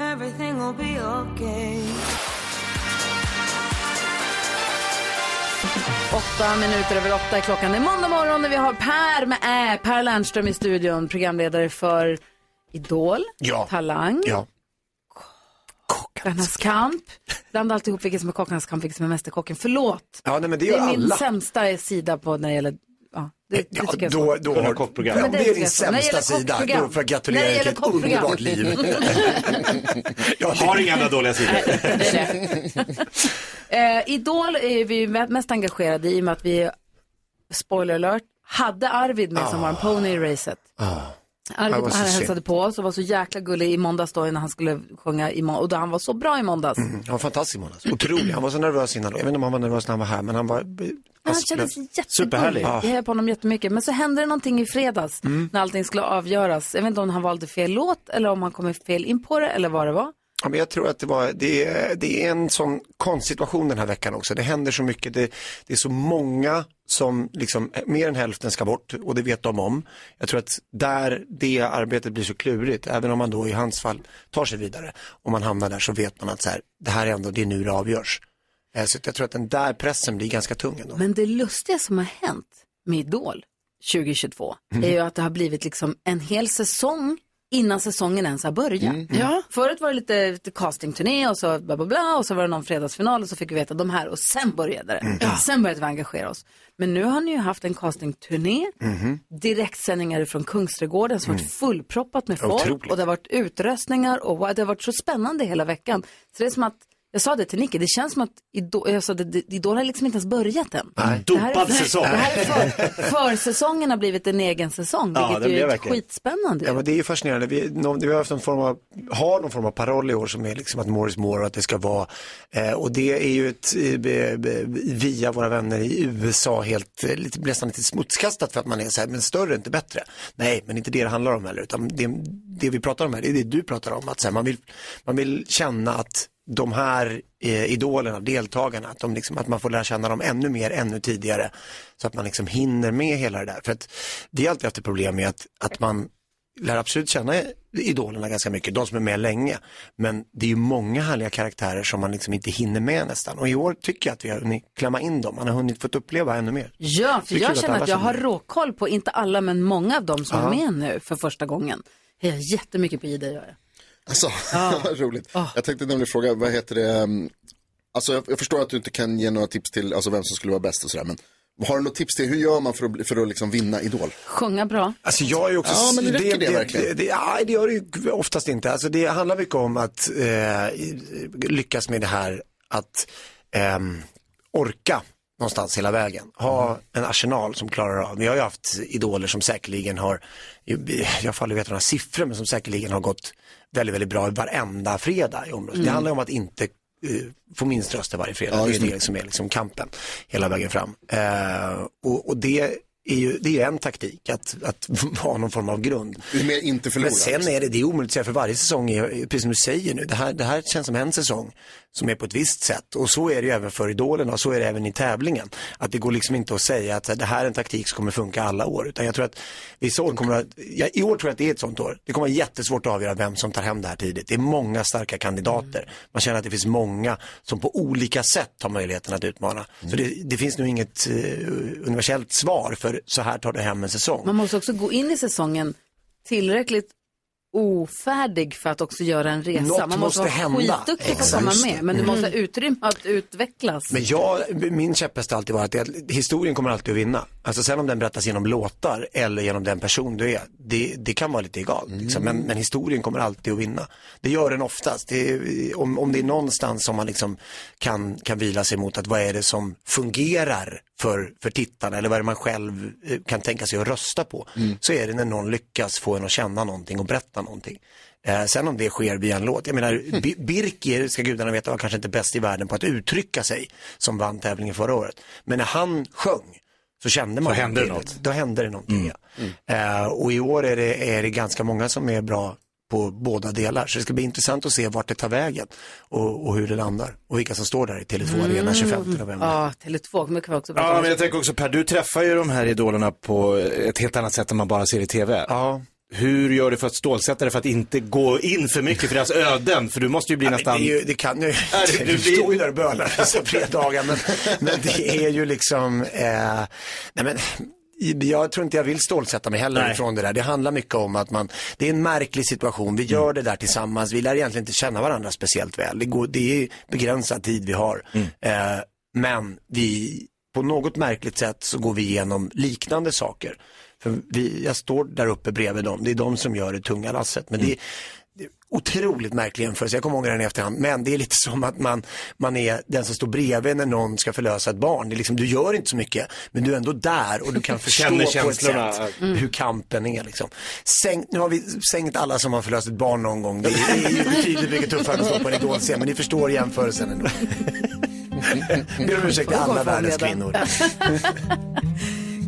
Everything will be okay. Åtta minuter över åtta är klockan. Det är måndag morgon när vi har Per med Ä, Per Lernström i studion, programledare för Idol, Ja. Talang, Ja. Kockarnas kamp. Blanda alltihop vilket som är Kockarnas kamp, vilket som är Mästerkocken. Förlåt. Ja, nej, men det det gör är min alla. sämsta sida på när det gäller, ja, det, det Ja, tycker jag är då, svårt. då har Ja, Om men det är tycker jag din svårt. När det sämsta gäller sida, kockprogram. då får jag gratulera När det dig till gäller ett kockprogram. underbart liv. jag Har inga andra dåliga sidor. Eh, Idol är vi ju mest engagerade i i och med att vi, spoiler alert, hade Arvid med Ah. som var en pony i racet. Ah. Han var Arvid så han synd. hälsade på oss och var så jäkla gullig i måndags då när han skulle sjunga i må- och då han var så bra i måndags. Mm, han var fantastisk Jonas. Otrolig. Han var så nervös innan. Jag vet inte om han var nervös när han var här, men han var... eh, Han kändes jättegullig. Alltså, Superhärlig. Jag hejar på honom jättemycket. Men så hände det någonting i fredags Mm. när allting skulle avgöras. Jag vet inte om han valde fel låt eller om han kom fel in på det eller vad det var. Ja, men jag tror att det, var, det, är, det är en sån konstsituation den här veckan också. Det händer så mycket, det, det är så många som liksom, mer än hälften ska bort och det vet de om. Jag tror att där det arbetet blir så klurigt, även om man då i hans fall tar sig vidare, om man hamnar där så vet man att så här, det här är ändå, det är nu det avgörs. Eh, Så att jag tror att den där pressen blir ganska tung ändå. Men det lustiga som har hänt med Idol 2022 är ju att det har blivit liksom en hel säsong innan säsongen ens har börjat. Mm, mm. Ja. Förut var det lite, lite castingturné och så bla bla bla och så var det någon fredagsfinal och så fick vi veta de här och sen började det. Mm. Sen började vi engagera oss. Men nu har ni ju haft en castingturné, Mm-hmm. direktsändningar från Kungsträdgården som varit fullproppat med folk Mm. Otroligt. och det har varit utröstningar och wow, det har varit så spännande hela veckan. Så det är som att jag sa det till Nicky, det känns som att Idol, jag sa det, det- Idol har liksom inte ens börjat än. Nej. Det här är- Dopad säsong. Det här är för, försäsongen har blivit en egen säsong, Ja, vilket det ju blev är verkligen. skitspännande. Ja, men det är ju fascinerande. Vi, någon, vi har haft någon form av, har någon form av paroll i år som är liksom att more is more och att det ska vara, eh, och det är ju ett, eh, be- be- via våra vänner i USA helt, eh, lite, nästan lite smutskastat för att man är så här, men större är inte bättre. Nej, men inte det det handlar om heller, utan det, det vi pratar om här, det är det du pratar om, att så här, man, vill, man vill känna att de här eh, idolerna, deltagarna, att, de liksom, att man får lära känna dem ännu mer, ännu tidigare. Så att man liksom hinner med hela det där. För att vi har alltid haft ett problem med att, att man lär absolut känna idolerna ganska mycket, de som är med länge. Men det är ju många härliga karaktärer som man liksom inte hinner med nästan. Och i år tycker jag att vi har hunnit klämma in dem, man har hunnit fått uppleva ännu mer. Ja, Det för är kul jag att känner alla att jag har känner. råkoll på, inte alla, men många av dem som Ja. är med nu för första gången. Jag är jättemycket på Ida, gör jag. Alltså, roligt. Jag tänkte nämligen fråga, vad heter det, ehm, alltså jag, jag förstår att du inte kan ge några tips till, alltså vem som skulle vara bäst och sådär, men har du något tips till, hur gör man för att, bli- för att liksom vinna Idol? Sjunga bra. Alltså jag är också... Ja, men det räcker det verkligen? Det, det, ja, det gör det ju oftast inte. Alltså det handlar mycket om att eh, lyckas med det här att ehm, orka någonstans hela vägen. Mm. Ha en arsenal som klarar av. Vi har ju haft idoler som säkerligen har, jag får aldrig veta några siffror, men som säkerligen har gått väldigt, väldigt bra varenda fredag i omröstning. Det Mm. handlar om att inte eh, får minst röster varje fredag. Ja, det just är det. det som är liksom kampen hela vägen fram. Eh, och, och det är ju det är ju en taktik, att, att ha någon form av grund. Mer inte förlora. Men sen är det, det är omöjligt att säga, för varje säsong är, precis som du säger nu, det här, det här känns som en säsong som är på ett visst sätt. Och så är det ju även för idolerna och så är det även i tävlingen. Att det går liksom inte att säga att det här är en taktik som kommer funka alla år. Utan jag tror att vissa år kommer att, ja, i år tror jag att det är ett sånt år. Det kommer vara jättesvårt att avgöra vem som tar hem det här tidigt. Det är många starka kandidater. Man känner att det finns många som på olika sätt har möjligheten att utmana. Så det, det finns nog inget eh, universellt svar för så här tar du hem en säsong. Man måste också gå in i säsongen tillräckligt ofärdig för att också göra en resa. Något man måste måste, vara hända. skitduktig på att Exakt. komma med, men du Mm. måste ha utrymme att utvecklas. Men jag, min käpphäst har alltid varit att historien kommer alltid att vinna. Alltså sen om den berättas genom låtar eller genom den person du är, det, det kan vara lite egalt. Liksom. Men, men historien kommer alltid att vinna. Det gör den oftast. Det, är- om, om det är någonstans som man liksom kan, kan vila sig mot att vad är det som fungerar för, för tittarna eller vad är det man själv eh, kan tänka sig att rösta på. Så är det när någon lyckas få en att känna någonting och berätta någonting. Eh, sen om det sker via en låt, jag Mm. menar Bi- Birker, ska gudarna veta, var kanske inte bäst i världen på att uttrycka sig som vann tävlingen förra året. Men när han sjöng så kände man Så hände det något. Då hände det någonting. Ja. Eh, och i år är det, är det ganska många som är bra på båda delar. Så det ska bli intressant att se vart det tar vägen och, och hur det landar. Och vilka som står där i Tele2 Mm. Arena 25 november. Mm. Ja, Tele2 kommer vi också prata Ja, om. men jag tänker också Per, du träffar ju de här idolerna på ett helt annat sätt än man bara ser i tv. Ja. Hur gör du för att stålsätta dig för att inte gå in för mycket för deras öden? För du måste ju bli Ja, men nästan... Det, är ju, det kan ju, det- det, det- du står ju där och bölar vissa fredagar. Men, men det är ju liksom, eh, nej men, jag tror inte jag vill stålsätta mig heller Nej. ifrån det där. Det handlar mycket om att man, det är en märklig situation. Vi Mm. gör det där tillsammans. Vi lär egentligen inte känna varandra speciellt väl. Det, går, det är begränsad tid vi har. Mm. Eh, men vi, på något märkligt sätt så går vi igenom liknande saker. För vi, jag står där uppe bredvid dem. Det är de som gör det tunga lasset. Men det är, otroligt märklig jämförelse, jag kommer ihåg den i efterhand, men det är lite som att man, man är den som står bredvid när någon ska förlösa ett barn. Det är liksom, du gör inte så mycket, men du är ändå där och du kan förstå Känner på ett känslorna. Mm. sätt hur kampen är. Liksom. Sänk, nu har vi sänkt alla som har förlöst ett barn någon gång. Det är, det är ju betydligt mycket tuffare att stå på en idolscen, men ni förstår jämförelsen ändå. Ber om ursäkt till alla världens kvinnor.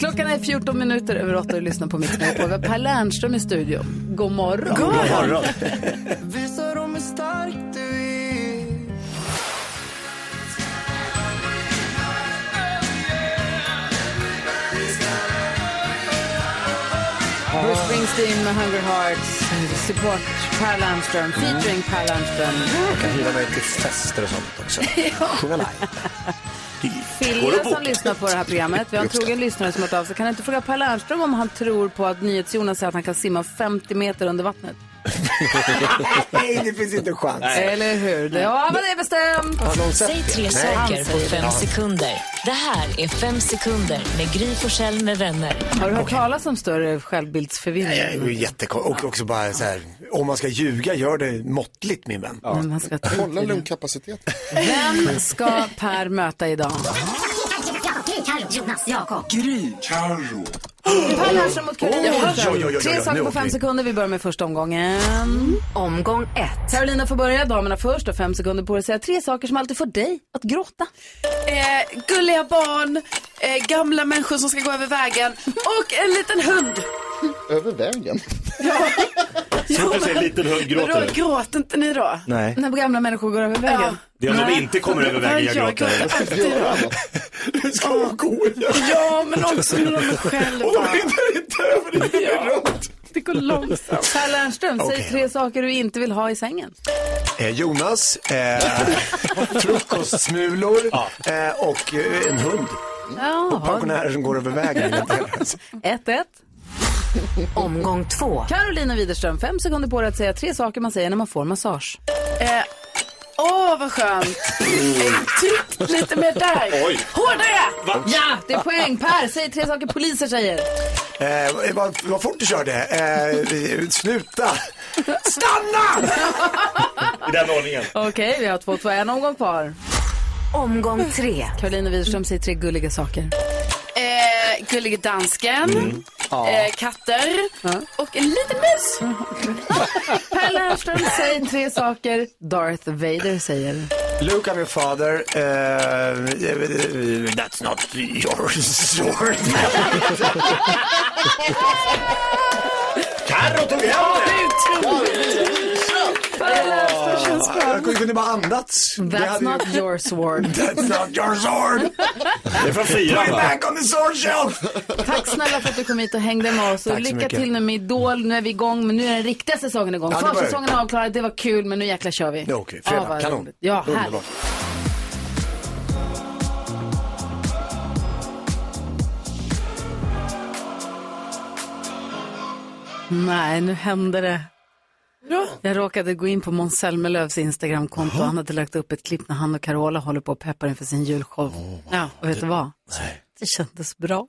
Klockan är 14 minuter över 8 och du lyssnar på Mix Megapol. Vi har Per Lernström i studion. God morgon. God morgon. Visa dem hur stark du är. Bruce Springsteen med Hungry Hearts, support Per Lernström, featuring Per Lernström. Jag kan hyra mig till fester och sånt också. Sjunga live. Går det Fille att boka? som lyssnar på det här programmet. Vi har en trogen lyssnare som har hört av sig. Kan jag inte fråga Per Lernström om han tror på att NyhetsJonas säger att han kan simma 50 meter under vattnet? Nej, det finns inte en chans. Eller hur? Det- Ja, men det är bestämt. Har någon sett Säg det? tre Nej. saker Han på säger det. fem Ja. sekunder. Det här är Fem sekunder med Gry Forssell med vänner. Har du hört talas om större självbildsförvirring? Det är ju jättekonstigt. Och också bara så här, om man ska ljuga, gör det måttligt min vän. Men man ska Kolla lungkapaciteten. Vem ska Per möta idag? Jonas, Jakob. Gry. Per Lernström mot Carolina Oj, Widerström. oj, oj, oj, oj, Tre nu saker på åker fem vi. sekunder. Vi börjar med första omgången. Omgång ett. Carolina får börja, damerna först och fem sekunder på dig att säga tre saker som alltid får dig att gråta. Eh, gulliga barn, eh, gamla människor som ska gå över vägen och en liten hund. Över vägen. Svårt att se en liten hund Vadå, gråter. gråter inte ni då? Nej. När gamla människor går över vägen. Det är om de Nej. inte kommer över vägen jag Jag gråter. gråter alltid då. Du ska vara god. Ja, men också när de är själva. Och de hinner inte över det. Det är runt. Det går långsamt. Per Lernström, säg Okej. tre saker du inte vill ha i sängen. Eh, Jonas, eh, frukostsmulor eh, och eh, en hund. Ah. Och pensionärer som går över vägen. 1-1. Omgång två. Carolina Widerström, fem sekunder på dig att säga tre saker man säger när man får massage. Eh, Åh, vad skönt. Tryck lite mer där. Oj. Hårdare! Va? Ja, det är poäng. Per, säg tre saker poliser säger. Eh, vad, vad fort du körde. Eh, sluta. Stanna! I den ordningen. Okej, vi har två, två, en omgång kvar. Omgång tre. Carolina Widerström säger tre gulliga saker. Eh, gullige dansken, Mm. Ja. eh, katter och en liten mus. Per Lernström, säg tre saker Darth Vader säger. Luke, I'm your father. Uh, that's not your sword. Carro tog hem Jag kunde bara andats. Det That's hade ju- not your sword. That's not your sword. Det är från fyran, Put it va? back on the sword shelf. Tack snälla för att du kom hit och hängde med oss. Och Tack så lycka mycket. till nu med Idol. Nu är vi igång, men nu är den riktiga säsongen igång. Ja, det var det. Försäsongen är avklarad, det var kul, men nu jäkla kör vi. Ja, Okej, fredag. Ah, vad Kanon. roligt. Ja, härligt. Underbart. Nej, nu hände det. Jag råkade gå in på Måns Zelmerlöws Instagramkonto. Han hade lagt upp ett klipp när han och Carola håller på och peppar inför sin julshow. ja, och vet du vad? Det kändes bra.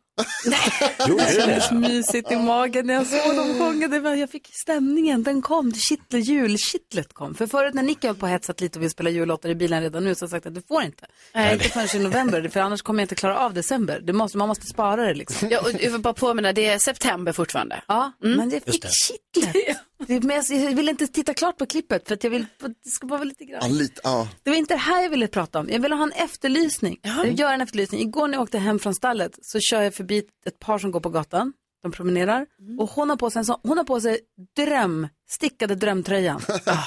Gjorde det det? kändes mysigt i magen när jag såg dem sjunga. Det var, jag fick stämningen, den kom, det kittlar, julkittlet kom. För förut när Nicky höll på och hetsat lite och ville spela jullåtar i bilen redan nu så har jag sagt att du får inte. Nej, inte förrän i november, för annars kommer jag inte klara av december. Det måste, man måste spara det liksom. Ja, och jag vill bara påminna, det är september fortfarande. Mm. Ja, men det fick kittlet. Det, men jag, jag vill inte titta klart på klippet för att jag vill, det ska bara vara lite grann. Ja, lite, ja. Det var inte det här jag ville prata om. Jag ville ha en efterlysning. Jag gör en efterlysning. Igår när jag åkte hem från stallet så kör jag förbi ett par som går på gatan. De promenerar. Och hon har på sig, en sån, hon har på sig dröm, stickade drömtröjan. Ah.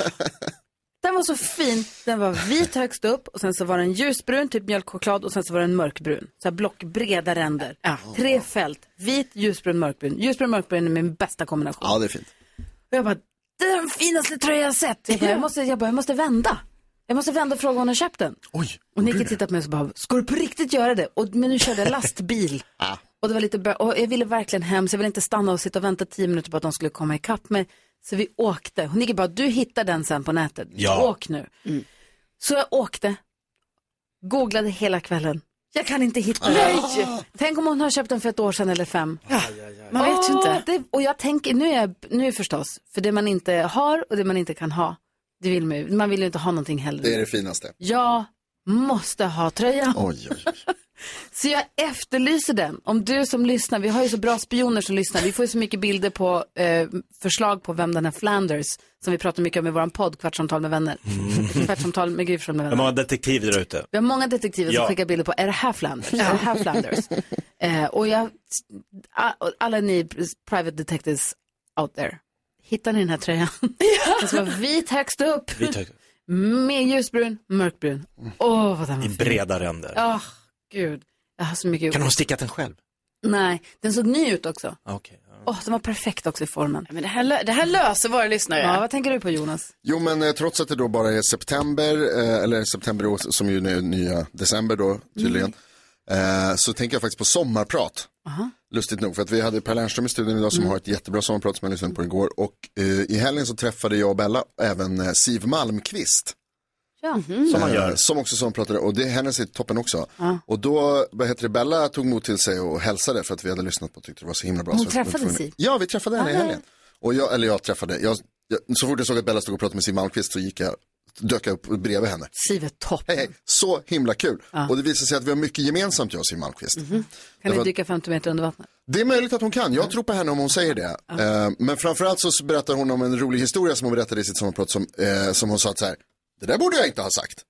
Den var så fin. Den var vit högst upp och sen så var den ljusbrun, typ mjölkchoklad och sen så var den mörkbrun. Så här blockbreda ränder. Tre fält. Vit, ljusbrun, mörkbrun. Ljusbrun, mörkbrun är min bästa kombination. ja, det är fint. Och jag bara, det är den finaste tröjan jag har sett. Jag, bara, jag, måste, jag, bara, jag måste vända. Jag måste vända och fråga om hon har köpt den. och Nicky tittade på mig och så bara, ska du på riktigt göra det? Och, men nu körde jag lastbil. Ah, och, det var lite bö- och jag ville verkligen hem, så jag ville inte stanna och sitta och vänta tio minuter på att de skulle komma ikapp mig. Så vi åkte. Och Nicky bara, du hittar den sen på nätet. Ja. Åk nu. Mm. Så jag åkte, googlade hela kvällen. Jag kan inte hitta den. Nej! Tänk om hon har köpt den för ett år sedan eller fem. Man vet ju Åh, inte. Det, och jag tänker, nu är, jag- nu förstås, för det man inte har och det man inte kan ha, det vill man ju, man vill ju inte ha någonting heller. Det är det finaste. Jag måste ha tröjan. Oj, oj, oj. Så jag efterlyser den. Om du som lyssnar, vi har ju så bra spioner som lyssnar. Vi får ju så mycket bilder på eh, förslag på vem den här Flanders, som vi pratar mycket om i vår podd, Kvartsamtal med vänner. Mm. Kvartsamtal med Gry Forssell med De vänner. har detektiver där ute. Vi har många detektiver som Ja. skickar bilder på, är det här Flanders? Är det här Flanders? eh, och jag, a- alla ni private detectives out there, hittar ni den här tröjan? Den som var vit högst upp, med ljusbrun, mörkbrun. Åh, vad den var I fin. breda ränder. Åh, gud. Jag har så mycket Kan hon ha stickat den själv? Nej, den såg ny ut också. Okej. Åh, den var perfekt också i formen. Men det här, lö- det här löser våra lyssnare. Ja, vad tänker du på Jonas? Jo, men eh, trots att det då bara är september, eh, eller september i år, som ju är nya december då tydligen, Mm. eh, så tänker jag faktiskt på sommarprat. Lustigt nog, för att vi hade Per Lernström i studion idag som Mm. har ett jättebra sommarprat som jag lyssnade på igår. Och eh, i helgen så träffade jag och Bella även eh, Siv Malmqvist. Ja. Mhm. Eh, Som också sommarpratare och det, hennes är toppen också. Ja. Och då, vad heter det, Bella tog mod till sig och hälsade för att vi hade lyssnat på och tyckte det var så himla bra. Hon Så vi var träffade tvungna- Siv? Ja, vi träffade henne i Ah. helgen. Och jag, eller jag träffade, jag, jag, så fort jag såg att Bella stod och pratade med Siw Malmkvist så gick jag, dök jag upp bredvid henne. Siv är toppen. Hej, hej, så himla kul. Och det visar sig att vi har mycket gemensamt jag och Siw Malmkvist. Mhm. Kan Därför ni att- dyka 50 meter under vattnet? det är möjligt att hon kan. Jag tror på henne om hon säger det. Eh, Men framförallt så berättar hon om en rolig historia som hon berättade i sitt sommarprat som, eh, som hon sa att så här, det där borde jag inte ha sagt.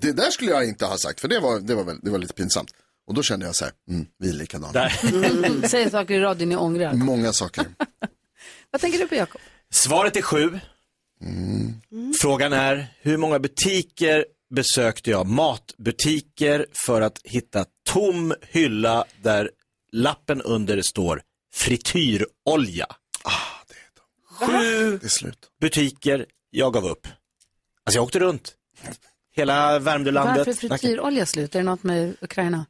Det där skulle jag inte ha sagt, för det var, det var, väl, det var lite pinsamt. Och då kände jag så här, mm, vi är likadana. Mm. Säg saker i radion ni ångrar. Många saker. Vad tänker du på Jakob? Svaret är sju. Mm. Frågan är, hur många butiker besökte jag? Matbutiker för att hitta tom hylla där lappen under står frityrolja. Ah, Sju det är slut. butiker, jag gav upp. Alltså jag åkte runt. Hela Värmdölandet. Varför är frityrolja slut? Är det något med Ukraina?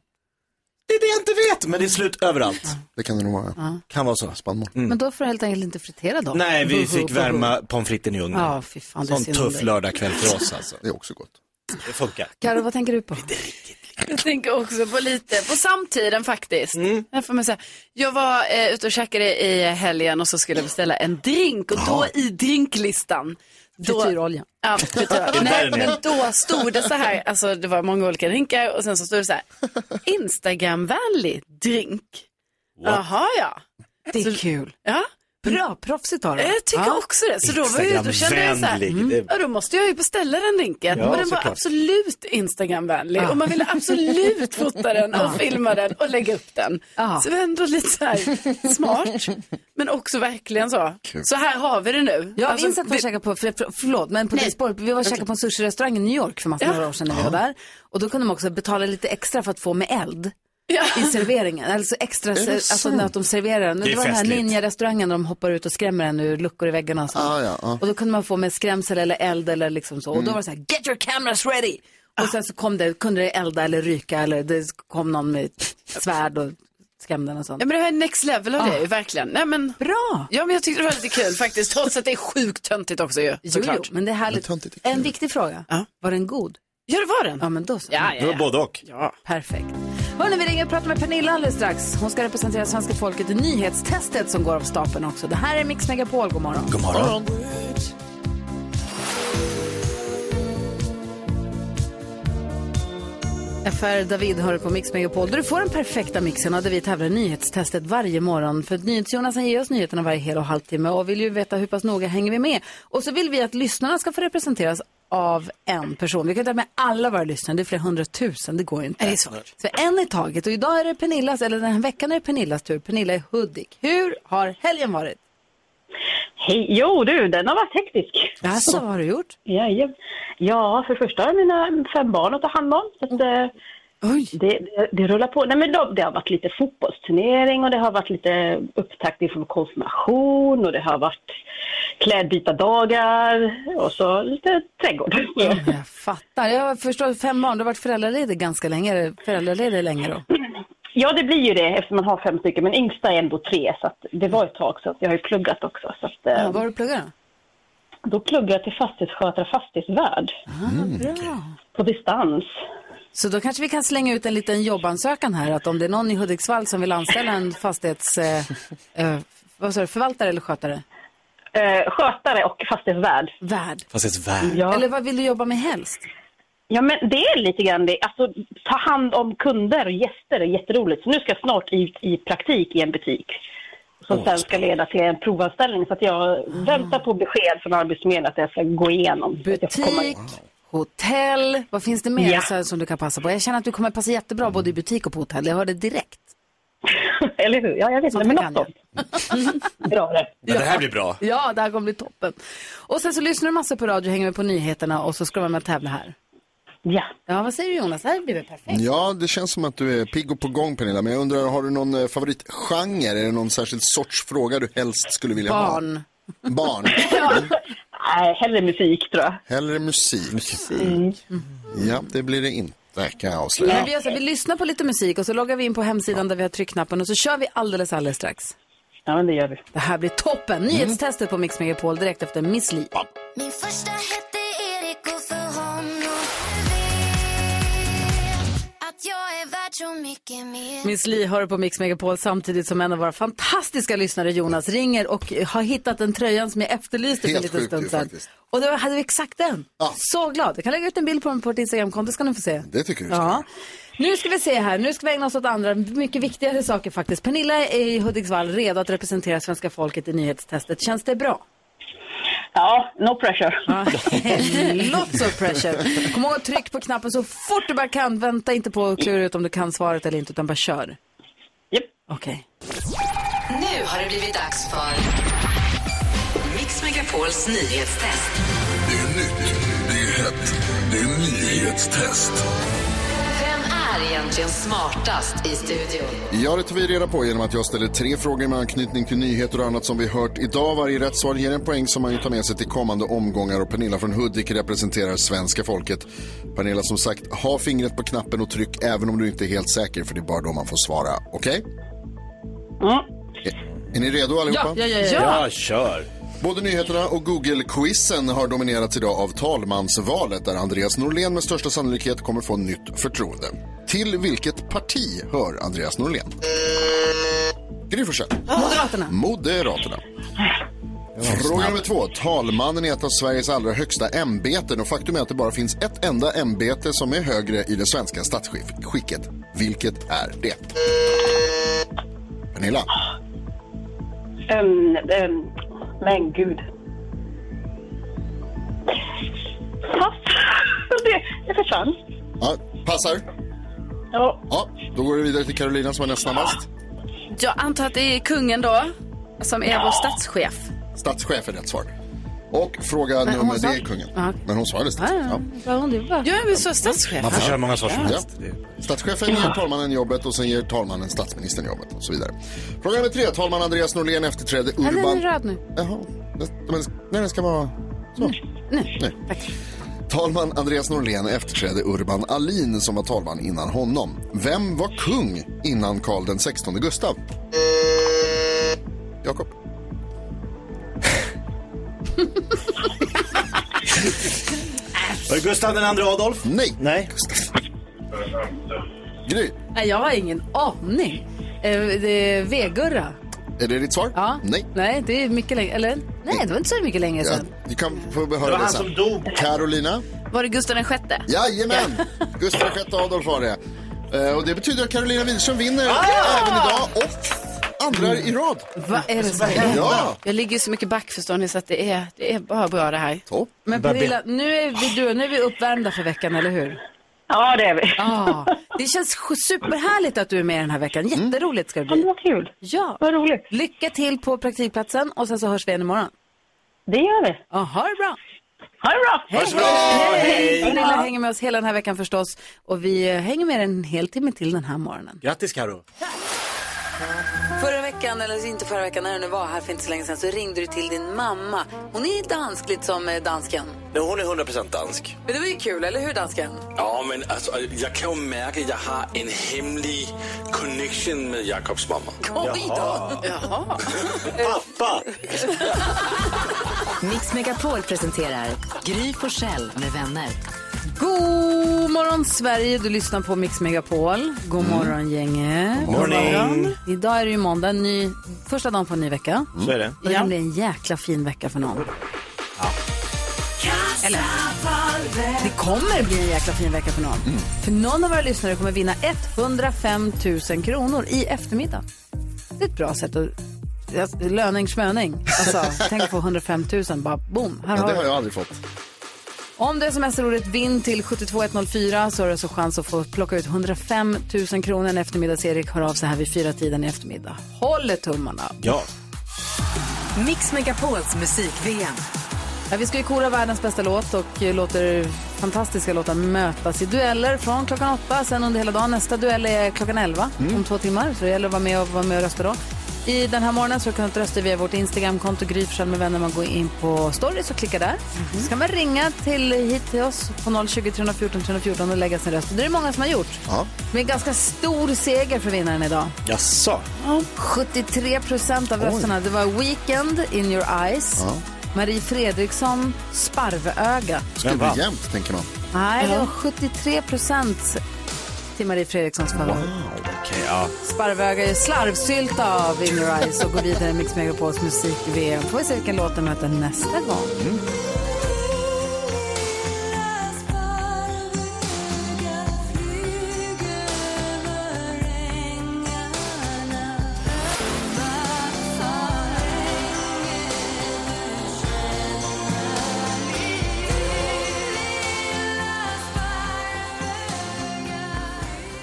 Det är det jag inte vet, men det är slut överallt. Det kan det nog vara. Ja. Kan vara så. Mm. Spannmål. Men då får du helt enkelt inte fritera dem. Nej, vi Buhu, fick buhu. värma pommes fritesen i ugnen. Ja, fy fan, det Sån synd om tuff dig. lördagkväll för oss alltså. Det är också gott. Det funkar. Karo, vad tänker du på? Jag tänker också på lite, på samtiden faktiskt. Mm. Här får man säga. Jag var eh, ute och käkade i helgen och så skulle jag beställa en drink och då i drinklistan. då- Frityrolja. Ja, frityrolja. Det där Nej, är men det. då stod det så här, alltså det var många olika drinkar och sen så stod det så här, Instagramvänlig drink. Jaha ja. Det är kul. Mm. Ja, Bra, proffsigt av dem. Jag tycker Ja. också det. Så då, var ju, då kände jag så här, Instagramvänlig, mm, det- ja, då måste jag ju beställa den drinken. Ja, och den var såklart. absolut Instagramvänlig. Ja. Och man ville absolut fota den Ja. och filma den och lägga upp den. Ja. Så det var ändå lite så här smart. Men också verkligen så. Kul. Så här har vi det nu. Jag Alltså, minns att vi var käkade på, för, för, förlåt, men på Disport, vi var och käkade på en sushi-restaurang i New York för massor av Ja. år sedan när vi var där. Och då kunde man också betala lite extra för att få med eld. I serveringen, alltså extra, Är det ser, alltså sant? när att de serverar. Men Det det, är var den här festligt. ninja-restaurangen där de hoppar ut och skrämmer en ur luckor i väggarna och sånt. Ah, ja, ah. Och då kunde man få med skrämsel eller eld eller liksom så. Och då Mm. var det så här, get your cameras ready! Och sen så kom det, kunde det elda eller ryka eller det kom någon med ett svärd och skrämde en och sånt. Ja, men det här är next level av Ja. det ju, verkligen. Nej, men... Bra! Ja, men jag tyckte det var lite kul faktiskt. Trots att det är sjukt töntigt också ju, Jo, såklart. jo, men det är härligt. en viktig fråga. Var den god? Ja, det var den. Ja, men då så. Ja, ja, Det var ja. både och. Eh, Ja. Perfekt. Hörrni, vi ringer och pratar med Pernilla alldeles strax. Hon ska representera svenska folket i nyhetstestet som går av stapeln också. Det här är Mix Megapol. God morgon. God morgon. FR David hör på Mix Megapol där du får den perfekta mixen och där vi tävlar i nyhetstestet varje morgon. För att NyhetsJonas han ger oss nyheterna varje hel och halvtimme och vill ju veta hur pass noga hänger vi med. Och så vill vi att lyssnarna ska få representeras av en person. Vi kan inte ha med alla våra lyssnare, det är flera hundratusen, det går ju inte. Nej, det är svårt. Så en i taget och idag är det Pernillas, eller den här veckan är det Pernillas tur, Pernilla i Hudik. Hur har helgen varit? Hej, jo du, den har varit hektisk. Jaså, vad har du gjort? Ja, ja. ja för det första har jag mina fem barn att ta hand om. Så att, eh, Det, det, det rullar på. Nej, men de, det har varit lite fotbollsturnering och det har varit lite upptakt inför konfirmation och det har varit klädbytardagar och så lite trädgård. Jag fattar. Jag förstår, fem barn, du har varit föräldraledig ganska länge, eller föräldraledig länge då? Ja, det blir ju det eftersom man har fem stycken, men yngsta är ändå tre så att det var ett tag så att jag har ju pluggat också. Så att, eh, Vad har du pluggat då? Då pluggar jag till fastighetsskötare, fastighetsvärd. Bra. På distans. Så då kanske vi kan slänga ut en liten jobbansökan här, att om det är någon i Hudiksvall som vill anställa en fastighets... Eh, eh, vad sa du, förvaltare eller skötare? Eh, skötare och fastighetsvärd. Värd. Fastighetsvärd. Ja. Eller vad vill du jobba med helst? Ja, men det är lite grann det. Alltså, ta hand om kunder och gäster är jätteroligt. Så nu ska jag snart ut i praktik i en butik. Som Åh, sen ska leda till en provanställning. Så att jag väntar på besked från Arbetsförmedlingen att jag ska gå igenom. Butik, hotell, vad finns det mer Ja. så här som du kan passa på? Jag känner att du kommer passa jättebra både i butik och på hotell, jag hör det direkt. Eller hur? Ja, jag vet inte, men något sånt. Bra det. Men det här blir bra. Ja, det här kommer bli toppen. Och sen så lyssnar du massor på radio, hänger med på nyheterna och så ska du vara med och tävla här. Ja. Ja, vad säger du Jonas? Det här blir väl perfekt? Ja, det känns som att du är pigg och på gång Pernilla, men jag undrar, har du någon eh, favoritgenre? Är det någon särskild sorts fråga du helst skulle vilja Barn. ha? Barn. Mm. Nej, hellre musik tror jag. Hellre musik. Mm. Ja, det blir det inte kan jag Men avslöja. vi, gör så här, vi lyssnar på lite musik och så loggar vi in på hemsidan där vi har tryckknappen och så kör vi alldeles alldeles strax. Ja, men det gör vi. Mm. Det här blir toppen! Nyhetstestet på Mix Megapol direkt efter Miss Li. Min första hette Erik och för honom att jag är värd så mycket mer Miss Li hör på Mix Megapol samtidigt som en av våra fantastiska lyssnare Jonas ringer och har hittat en tröjan som jag efterlyste för en Helt liten sjukt stund ju sedan. faktiskt. Och då hade vi exakt den. Så glad. Jag kan lägga ut en bild på den på vårt Instagramkonto ska ni få se. Det tycker vi. Ja. Nu ska vi se här, nu ska vi ägna oss åt andra mycket viktigare saker faktiskt. Pernilla är i Hudiksvall redo att representera svenska folket i nyhetstestet. Känns det bra? Ja, no pressure. Lots of pressure. Kom ihåg att tryck på knappen så fort du bara kan. Vänta inte på att klura ut om du kan svaret eller inte, utan bara kör. Japp. Okej. Nu har det blivit dags för Mix Megapols nyhetstest. Det är nyhetstest. Vem är egentligen smartast i studion? Ja, det tar vi reda på genom att jag ställer tre frågor med anknytning till nyheter och annat som vi hört idag. Varje rätt svar ger en poäng som man ju tar med sig till kommande omgångar och Pernilla från Hudik representerar svenska folket. Pernilla, som sagt, ha fingret på knappen och tryck även om du inte är helt säker för det är bara då man får svara. Okej? Är- Är ni redo allihopa? Ja, ja, ja, ja. Ja, kör! Både nyheterna och Google-quizen har dominerats idag av talmansvalet där Andreas Norlén med största sannolikhet kommer få nytt förtroende. Till vilket parti hör Andreas Norlén? Gry Forssell. Moderaterna. Moderaterna. Fråga nummer två. Talmannen är ett av Sveriges allra högsta ämbeten och faktum är att det bara finns ett enda ämbete som är högre i det svenska statsskicket. Vilket är det? Pernilla. Ehm, ehm, men gud. Pass. Det, det försvann. Ja, passar. Ja. ja. Då går vi vidare till Carolina som är näst snabbast. Jag antar att det är kungen då, som är Ja. vår statschef. Statschef är rätt svar. Och fråga Men hon nummer, det sa- är kungen. Ja. Men hon svarade statschef. Ja. Ja, men så statschef. Ja. Statschefen ger talmannen jobbet och sen ger talmannen statsministern jobbet och så vidare. Fråga nummer tre. Talman Andreas Norlén efterträdde Ja, den är Urban... röd nu. Jaha. Men, nej, den ska vara så. Nej. Nej. Talman Andreas Norlén efterträdde Urban Alin som var talman innan honom. Vem var kung innan Karl den 16 Gustav? Jakob. Var det Gustav den andra Adolf? Nej. Nej. Gry, Nej, jag har ingen aning. Eh, det är Vegurra. är det ditt svar? Ja. Nej. Nej, det är mycket längre. Eller? Nej, det var inte så mycket längre Ja, sedan. du kan få höra Det var det han sen. som dog. Carolina. Var det Gustav den sjätte? Jajamän! Gustav VI Adolf var det. Eh, Och det betyder att Carolina Widerström vinner Ah! även idag och andra i rad. Vad är det som händer? Ja. Jag ligger ju så mycket back förstår ni så att det är, det är bara bra det här. Topp. Men Pernilla, nu är, vi, du, nu är vi uppvärmda för veckan, eller hur? Ja, det är vi. Ja, det känns sj- superhärligt att du är med den här veckan. Jätteroligt ska det bli. Ja, Mm. vad kul. Ja. Vad roligt. Lycka till på praktikplatsen och sen så hörs vi igen imorgon. Det gör vi. Ja, ha det bra. Ha det bra. Hej. Ha det bra. Hej. Pernilla hänger med oss hela den här veckan förstås och vi eh, hänger med en hel timme till den här morgonen. Grattis Karo. Förra veckan, eller inte förra veckan, när du nu var här för inte så länge sedan så ringde du till din mamma. Hon är dansk, lite som eh, dansken. Nej, hon är 100% dansk. Men det var ju kul, eller hur dansken? Ja, men alltså, jag kan ju märka att jag har en hemlig connection med Jakobs mamma. Oj då! Jaha. Pappa! Mix Megapol presenterar Gry Forssell med vänner. God morgon Sverige, du lyssnar på Mix Megapol. God morgon gänget. God morgon. Idag är det ju måndag, ny, första dagen på en ny vecka. Så är det. Och det blir en jäkla fin vecka för någon. Eller? Det kommer bli en jäkla fin vecka för någon. Mm. För någon av våra lyssnare kommer vinna 105 000 kronor i eftermiddag. Det är ett bra sätt att... Löning, smöning. Alltså, tänk att få 105 000, bara boom, här Men har det du. har jag aldrig fått. Om du smsar ordet vinn till 72104 så har du så chans att få plocka ut 105 000 kronor när eftermiddags-Erik hör av sig här vid fyra tiden i eftermiddag. Håller tummarna. Ja. Mix Megapols musik-VM. Ja, vi ska ju kora världens bästa låt och eh, låter fantastiska låtar mötas i dueller från klockan åtta, sen under hela dagen. Nästa duell är klockan elva om två timmar, så det gäller att vara med och, vara med och rösta då. I den här morgonen så kan du rösta via vårt Instagramkonto, Gry Forssell med vänner. Man går in på stories och klickar där. Så kan man ringa till, hit till oss på 020 314 314 och lägga sin röst. Det är det många som har gjort. Ja. Med ganska stor seger för vinnaren idag. Jaså? 73 procent av Oj. rösterna. Det var Weekend, In Your Eyes, Ja. Marie Fredriksson, Sparvöga. Skulle bli jämnt, tänker man. Nej, det var 73 procent till Marie Fredrikssons favorit. Okej, ja. Sparvöga är slarvsylta av In Your Eyes och går vidare i Mix Megapols musik-VM. Får vi se vilken låt den möter nästa gång. Mm.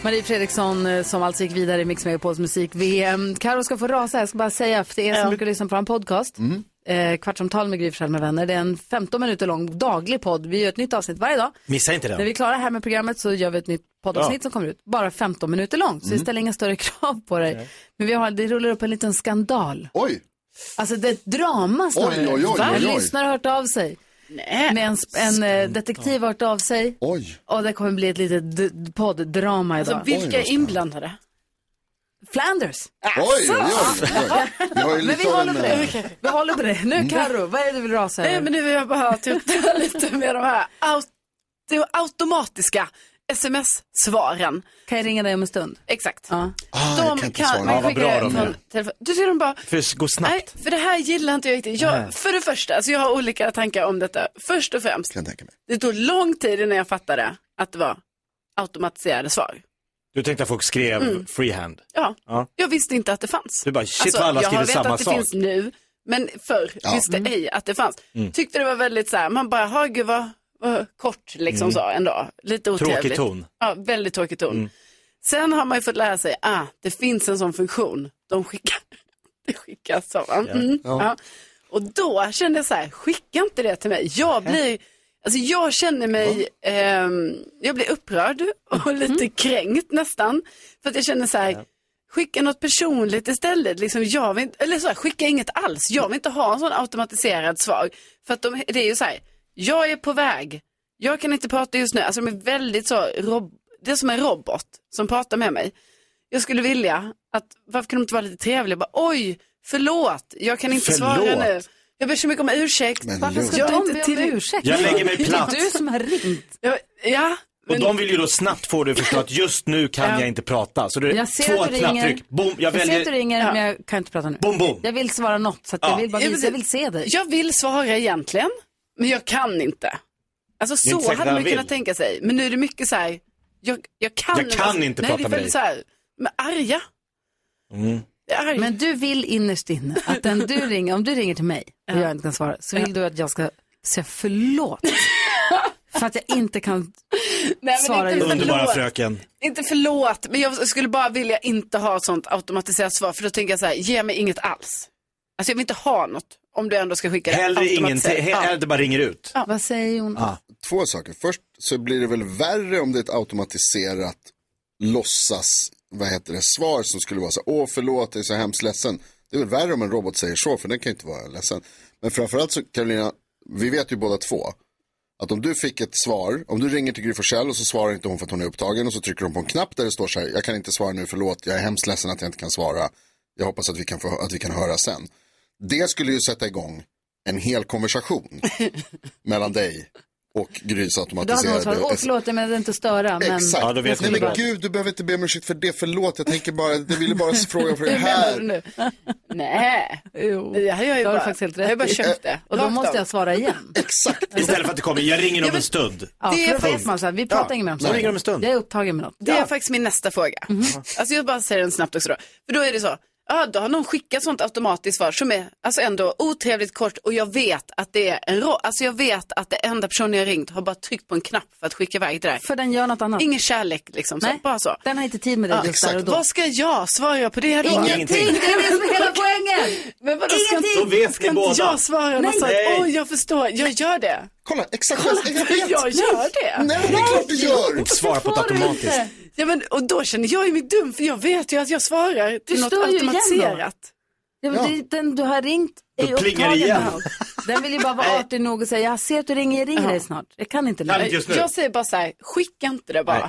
Marie Fredriksson eh, som alltså gick vidare i Mix Megapols musik-VM. Karo ska få rasa, jag ska bara säga för er som brukar lyssna på en podcast. Eh, kvartsamtal med Gry Forssell med vänner. Det är en 15 minuter lång daglig podd. Vi gör ett nytt avsnitt varje dag. Missa inte När vi är den. klara här med programmet så gör vi ett nytt poddavsnitt Ja. som kommer ut. Bara 15 minuter långt, så vi Mm. ställer inga större krav på dig. Men vi har, det rullar upp en liten skandal. Oj! Alltså det är ett drama snarare. Oj, oj, oj, oj, En oj. lyssnare har hört av sig. Med en, sp- en eh, detektiv har hört av sig. Oj. Och det kommer bli ett litet d- podddrama idag. Alltså, vilka är inblandade? Ah. Flanders. Oj, oj, oj. Jag har ju Men lite vi av håller en, på eh, det. Vi håller på det. Nu Karo, vad är det du vill rasa Nej, men nu vill jag bara tuta lite med de här aut- automatiska sms-svaren. Kan jag ringa dig om en stund? Exakt. Ah, jag kan de inte kan, svara. man Ja, vad bra skickar de är. från telefon. Du ser de bara, För det går snabbt. nej, för det här gillar inte jag riktigt. Nej. Jag, för det första, alltså jag har olika tankar om detta. Först och främst, kan jag tänka mig. det tog lång tid innan jag fattade att det var automatiserade svar. Du tänkte att folk skrev Mm. freehand? Ja. Ja. Jag visste inte att det fanns. Alltså, Du bara, shit, vad alla jag har skriver vetat samma att det sak. finns nu, men förr Ja. visste Mm. ej att det fanns. Mm. Tyckte det var väldigt så här, man bara, ha gud vad, vad kort liksom Mm. så ändå. Lite Tråkig otrevligt. ton. Mm. Ja, väldigt tråkig ton. Sen har man ju fått lära sig, ah, det finns en sån funktion. De skickar, det skickas så. va? Mm. Ja. Ja. Och då kände jag så här, skicka inte det till mig. Jag blir, alltså jag känner mig, ehm, jag blir upprörd och lite kränkt nästan. För att jag känner så här, skicka något personligt istället. Liksom jag vill, inte- eller så här, skicka inget alls. Jag vill inte ha en sån automatiserad svar. För att de, det är ju så här, jag är på väg. Jag kan inte prata just nu. Alltså de är väldigt så, rob- det är som en robot som pratar med mig. Jag skulle vilja att, varför kan de inte vara lite trevliga? Bara, Oj, förlåt, jag kan inte svara Förlåt. nu. Jag ber så mycket om ursäkt. Men Varför ska du inte be om ursäkt? Jag lägger mig platt. Det är du som har ringt. Ja, ja Och de vill ju då snabbt få dig att förstå att just nu kan Ja. jag inte prata. Så det är Jag ser två att du ringer. knapptryck. Boom, jag, Jag, ser väljer... att du ringer, men jag kan inte prata nu. Boom, boom. Jag vill svara något, så att jag Ja. vill bara visa, jag vill se dig. Jag vill svara egentligen, men jag kan inte. Alltså Det är inte så säkert hade han man vill. kunnat tänka sig. Men nu är det mycket så här, jag, jag kan, alltså- Jag kan inte Nej, prata det är med väldigt dig. Så här, men arga. Mm. Men du vill innerst inne att den du ringer, om du ringer till mig och jag inte kan svara, så vill du att jag ska säga förlåt. För att jag inte kan men svara inte just nu. Underbara fröken. Inte förlåt, men jag skulle bara vilja inte ha ett sånt automatiserat svar. För då tänker jag så här, ge mig inget alls. Alltså jag vill inte ha något om du ändå ska skicka det Hellre automatiserat. ingenting. Hellre det bara ringer ut. Vad säger hon? Två saker. Först så blir det väl värre om det är ett automatiserat låtsas, vad heter det, svar som skulle vara så här, åh förlåt, jag är så hemskt ledsen. Det är väl värre om en robot säger så, för den kan ju inte vara ledsen. Men framförallt så, Carolina, vi vet ju båda två, att om du fick ett svar, om du ringer till Gry Forssell och så svarar inte hon för att hon är upptagen och så trycker hon på en knapp där det står så här, jag kan inte svara nu, förlåt, jag är hemskt ledsen att jag inte kan svara, jag hoppas att vi kan, få, att vi kan höra sen. Det skulle ju sätta igång en hel konversation mellan dig och Grys Då hade hon svarat, automatiserade åh förlåt, jag menade inte att störa. Men Exakt. jag skulle Nej, men bara- gud, du behöver inte be om ursäkt för det. Förlåt, jag tänker bara, jag ville bara fråga för det Hur här. menar du nu? Nej, jo. det har jag ju Då har du bara, faktiskt helt jag har ju rätt bara i. köpt det. Och då Rakt måste av. jag svara igen. Istället för att det kommer, jag ringer om en stund. Ja, det Punkt. för då vet man så här, vi pratar Ja, inget mer om då ringer de en stund. Jag är upptagen med något. Det är faktiskt min nästa fråga. Mhm. Alltså jag bara säger den snabbt också då. För då är det så, ja då har någon skickat sånt automatiskt svar som är alltså ändå otrevligt kort och jag vet att det är en rå, alltså jag vet att det enda personen jag ringt har bara tryckt på en knapp för att skicka iväg det där. För den gör något annat. Ingen kärlek liksom, så, Nej. bara så. Den har inte tid med det just där och då. Vad ska jag svara på det då? Ingenting, det är det som är hela poängen. Men vadå, ska Ingenting. inte, Då vet vi ska båda. inte jag svara något Nej. sånt? Nej. Oj, jag förstår, jag gör det. Kolla, exakt. Kolla, jag vet. jag gör det. Nej, det är klart du gör. Svara på ett Varför får du automatiskt. inte? Ja, men, och då känner jag ju mig dum för jag vet ju att jag svarar till Du något stör ju igen då. automatiserat. Ja, men det, den du har ringt är ju Då plingar det upptagen igen. med allt. Den vill ju bara vara artig nog och säga, jag ser att du ringer, jag ringer dig snart. Jag kan inte nu. Jag säger bara så här, skicka inte det bara. Nej.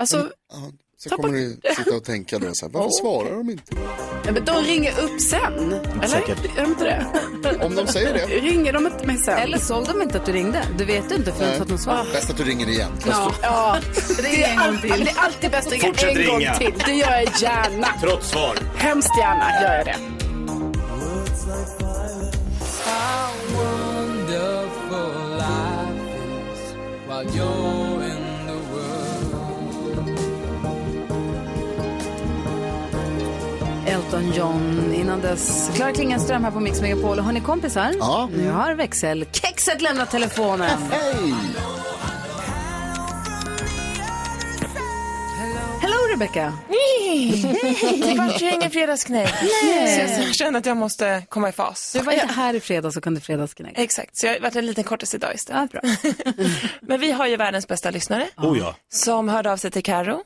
Alltså, Så kommer du sitta och tänka då, så här, varför Åh, svarar de inte? ja, men de ringer upp sen. Eller? Säkert. Gör de inte det? Om de säger det. Ringer de inte mig sen? Ah, Eller såg de inte att du ringde? Du vet ju inte förrän du fått något svar. Bäst att du ringer igen. Ja. Ja, Ring det är, en gång alltid, till. det är alltid bäst att ringa Fortsätt en gång ringa. till. Det gör jag gärna. Trots svar. Hemskt gärna gör jag det. Elton John, innan dess Klara Klingenström här på Mix Megapol. Och Har ni kompisar? Ja. Nu har växelkexet lämnat telefonen. Hej! Hello Rebecca! Kvart i ingen fredagsknäck. Nej. Så jag- jag känner att jag måste komma i fas. Du var inte här i fredags och kunde fredagsknäck. Exakt, så jag har varit en liten kortis idag istället. Men vi har ju världens bästa lyssnare. Oh ja. Som hörde av sig till Karo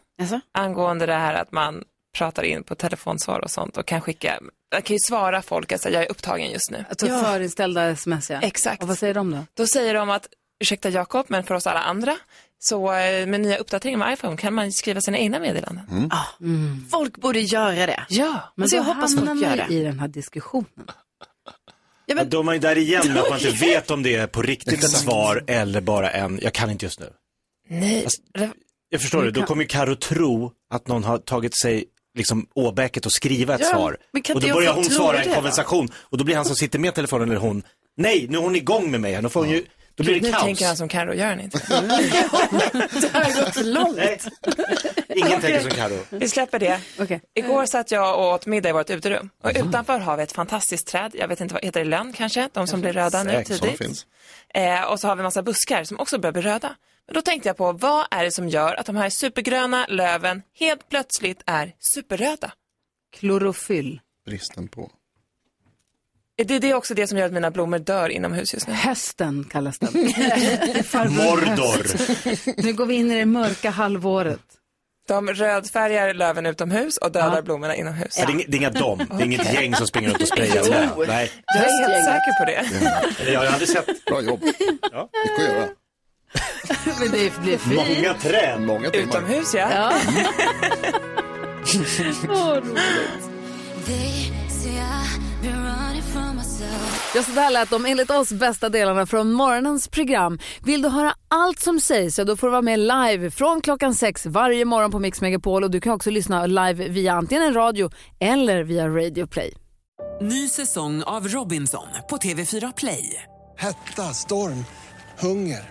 angående det här att man pratar in på telefonsvar och sånt och kan skicka, man kan ju svara folk att säga, jag är upptagen just nu. Alltså förinställda sms ja. Exakt. Och vad säger de då? Då säger de att, ursäkta Jakob, men för oss alla andra, så eh, med nya uppdateringar med iPhone kan man skriva sina egna meddelanden. Mm. Ah. Folk borde göra det. Ja, Men alltså, Mm. då jag hoppas hamnar folk man gör ju det. i den här diskussionen. Ja, då är man ju där igen med att man inte vet om det är på riktigt ett svar eller bara en, jag kan inte just nu. Nej. Jag förstår det, då kommer ju Karo tro att någon har tagit sig liksom åbäket och skriva ett Ja, svar. men kan Och inte då jag börjar få hon tro svara det i då? konversation och då blir han som sitter med telefonen eller hon, nej nu är hon igång med mig här, då, får hon ju, då blir nu det kaos. tänker han som Carro, gör han inte. Det har gått för långt. Ingenting är som Karo. Vi släpper det. Igår satt jag och åt middag i vårt uterum. Och Mm. utanför har vi ett fantastiskt träd. Jag vet inte vad heter det, lönn kanske? De som blir röda nu Säkert, sådana tidigt. finns. Eh, och så har vi massa buskar som också börjar bli röda. Men då tänkte jag på, vad är det som gör att de här supergröna löven helt plötsligt är superröda? Klorofyll. Bristen på. Är Det, det är också det som gör att mina blommor dör inomhus just nu. Hösten kallas den. Mordor. Nu går vi in i det mörka halvåret. De rödfärgar löven utomhus och dödar blommorna inomhus. Nej, det är ing- det är inga dom. Det är inget gäng som springer runt och sprayar Jo. löv. Nej. Jag är helt säker på det. Eller Jag har aldrig sett. Bra jobb. Ja. Mycket att göra. Men det blir fint. Många träd. Många timmar. Utomhus ja. ja. They say I've been running from myself. Ja, så där lät de enligt oss bästa delarna från morgonens program. Vill du höra allt som sägs så då får du vara med live från klockan sex varje morgon på Mix Megapol och du kan också lyssna live via antingen en radio eller via Radio Play. Ny säsong av Robinson på TV4 Play. Hetta, storm, hunger.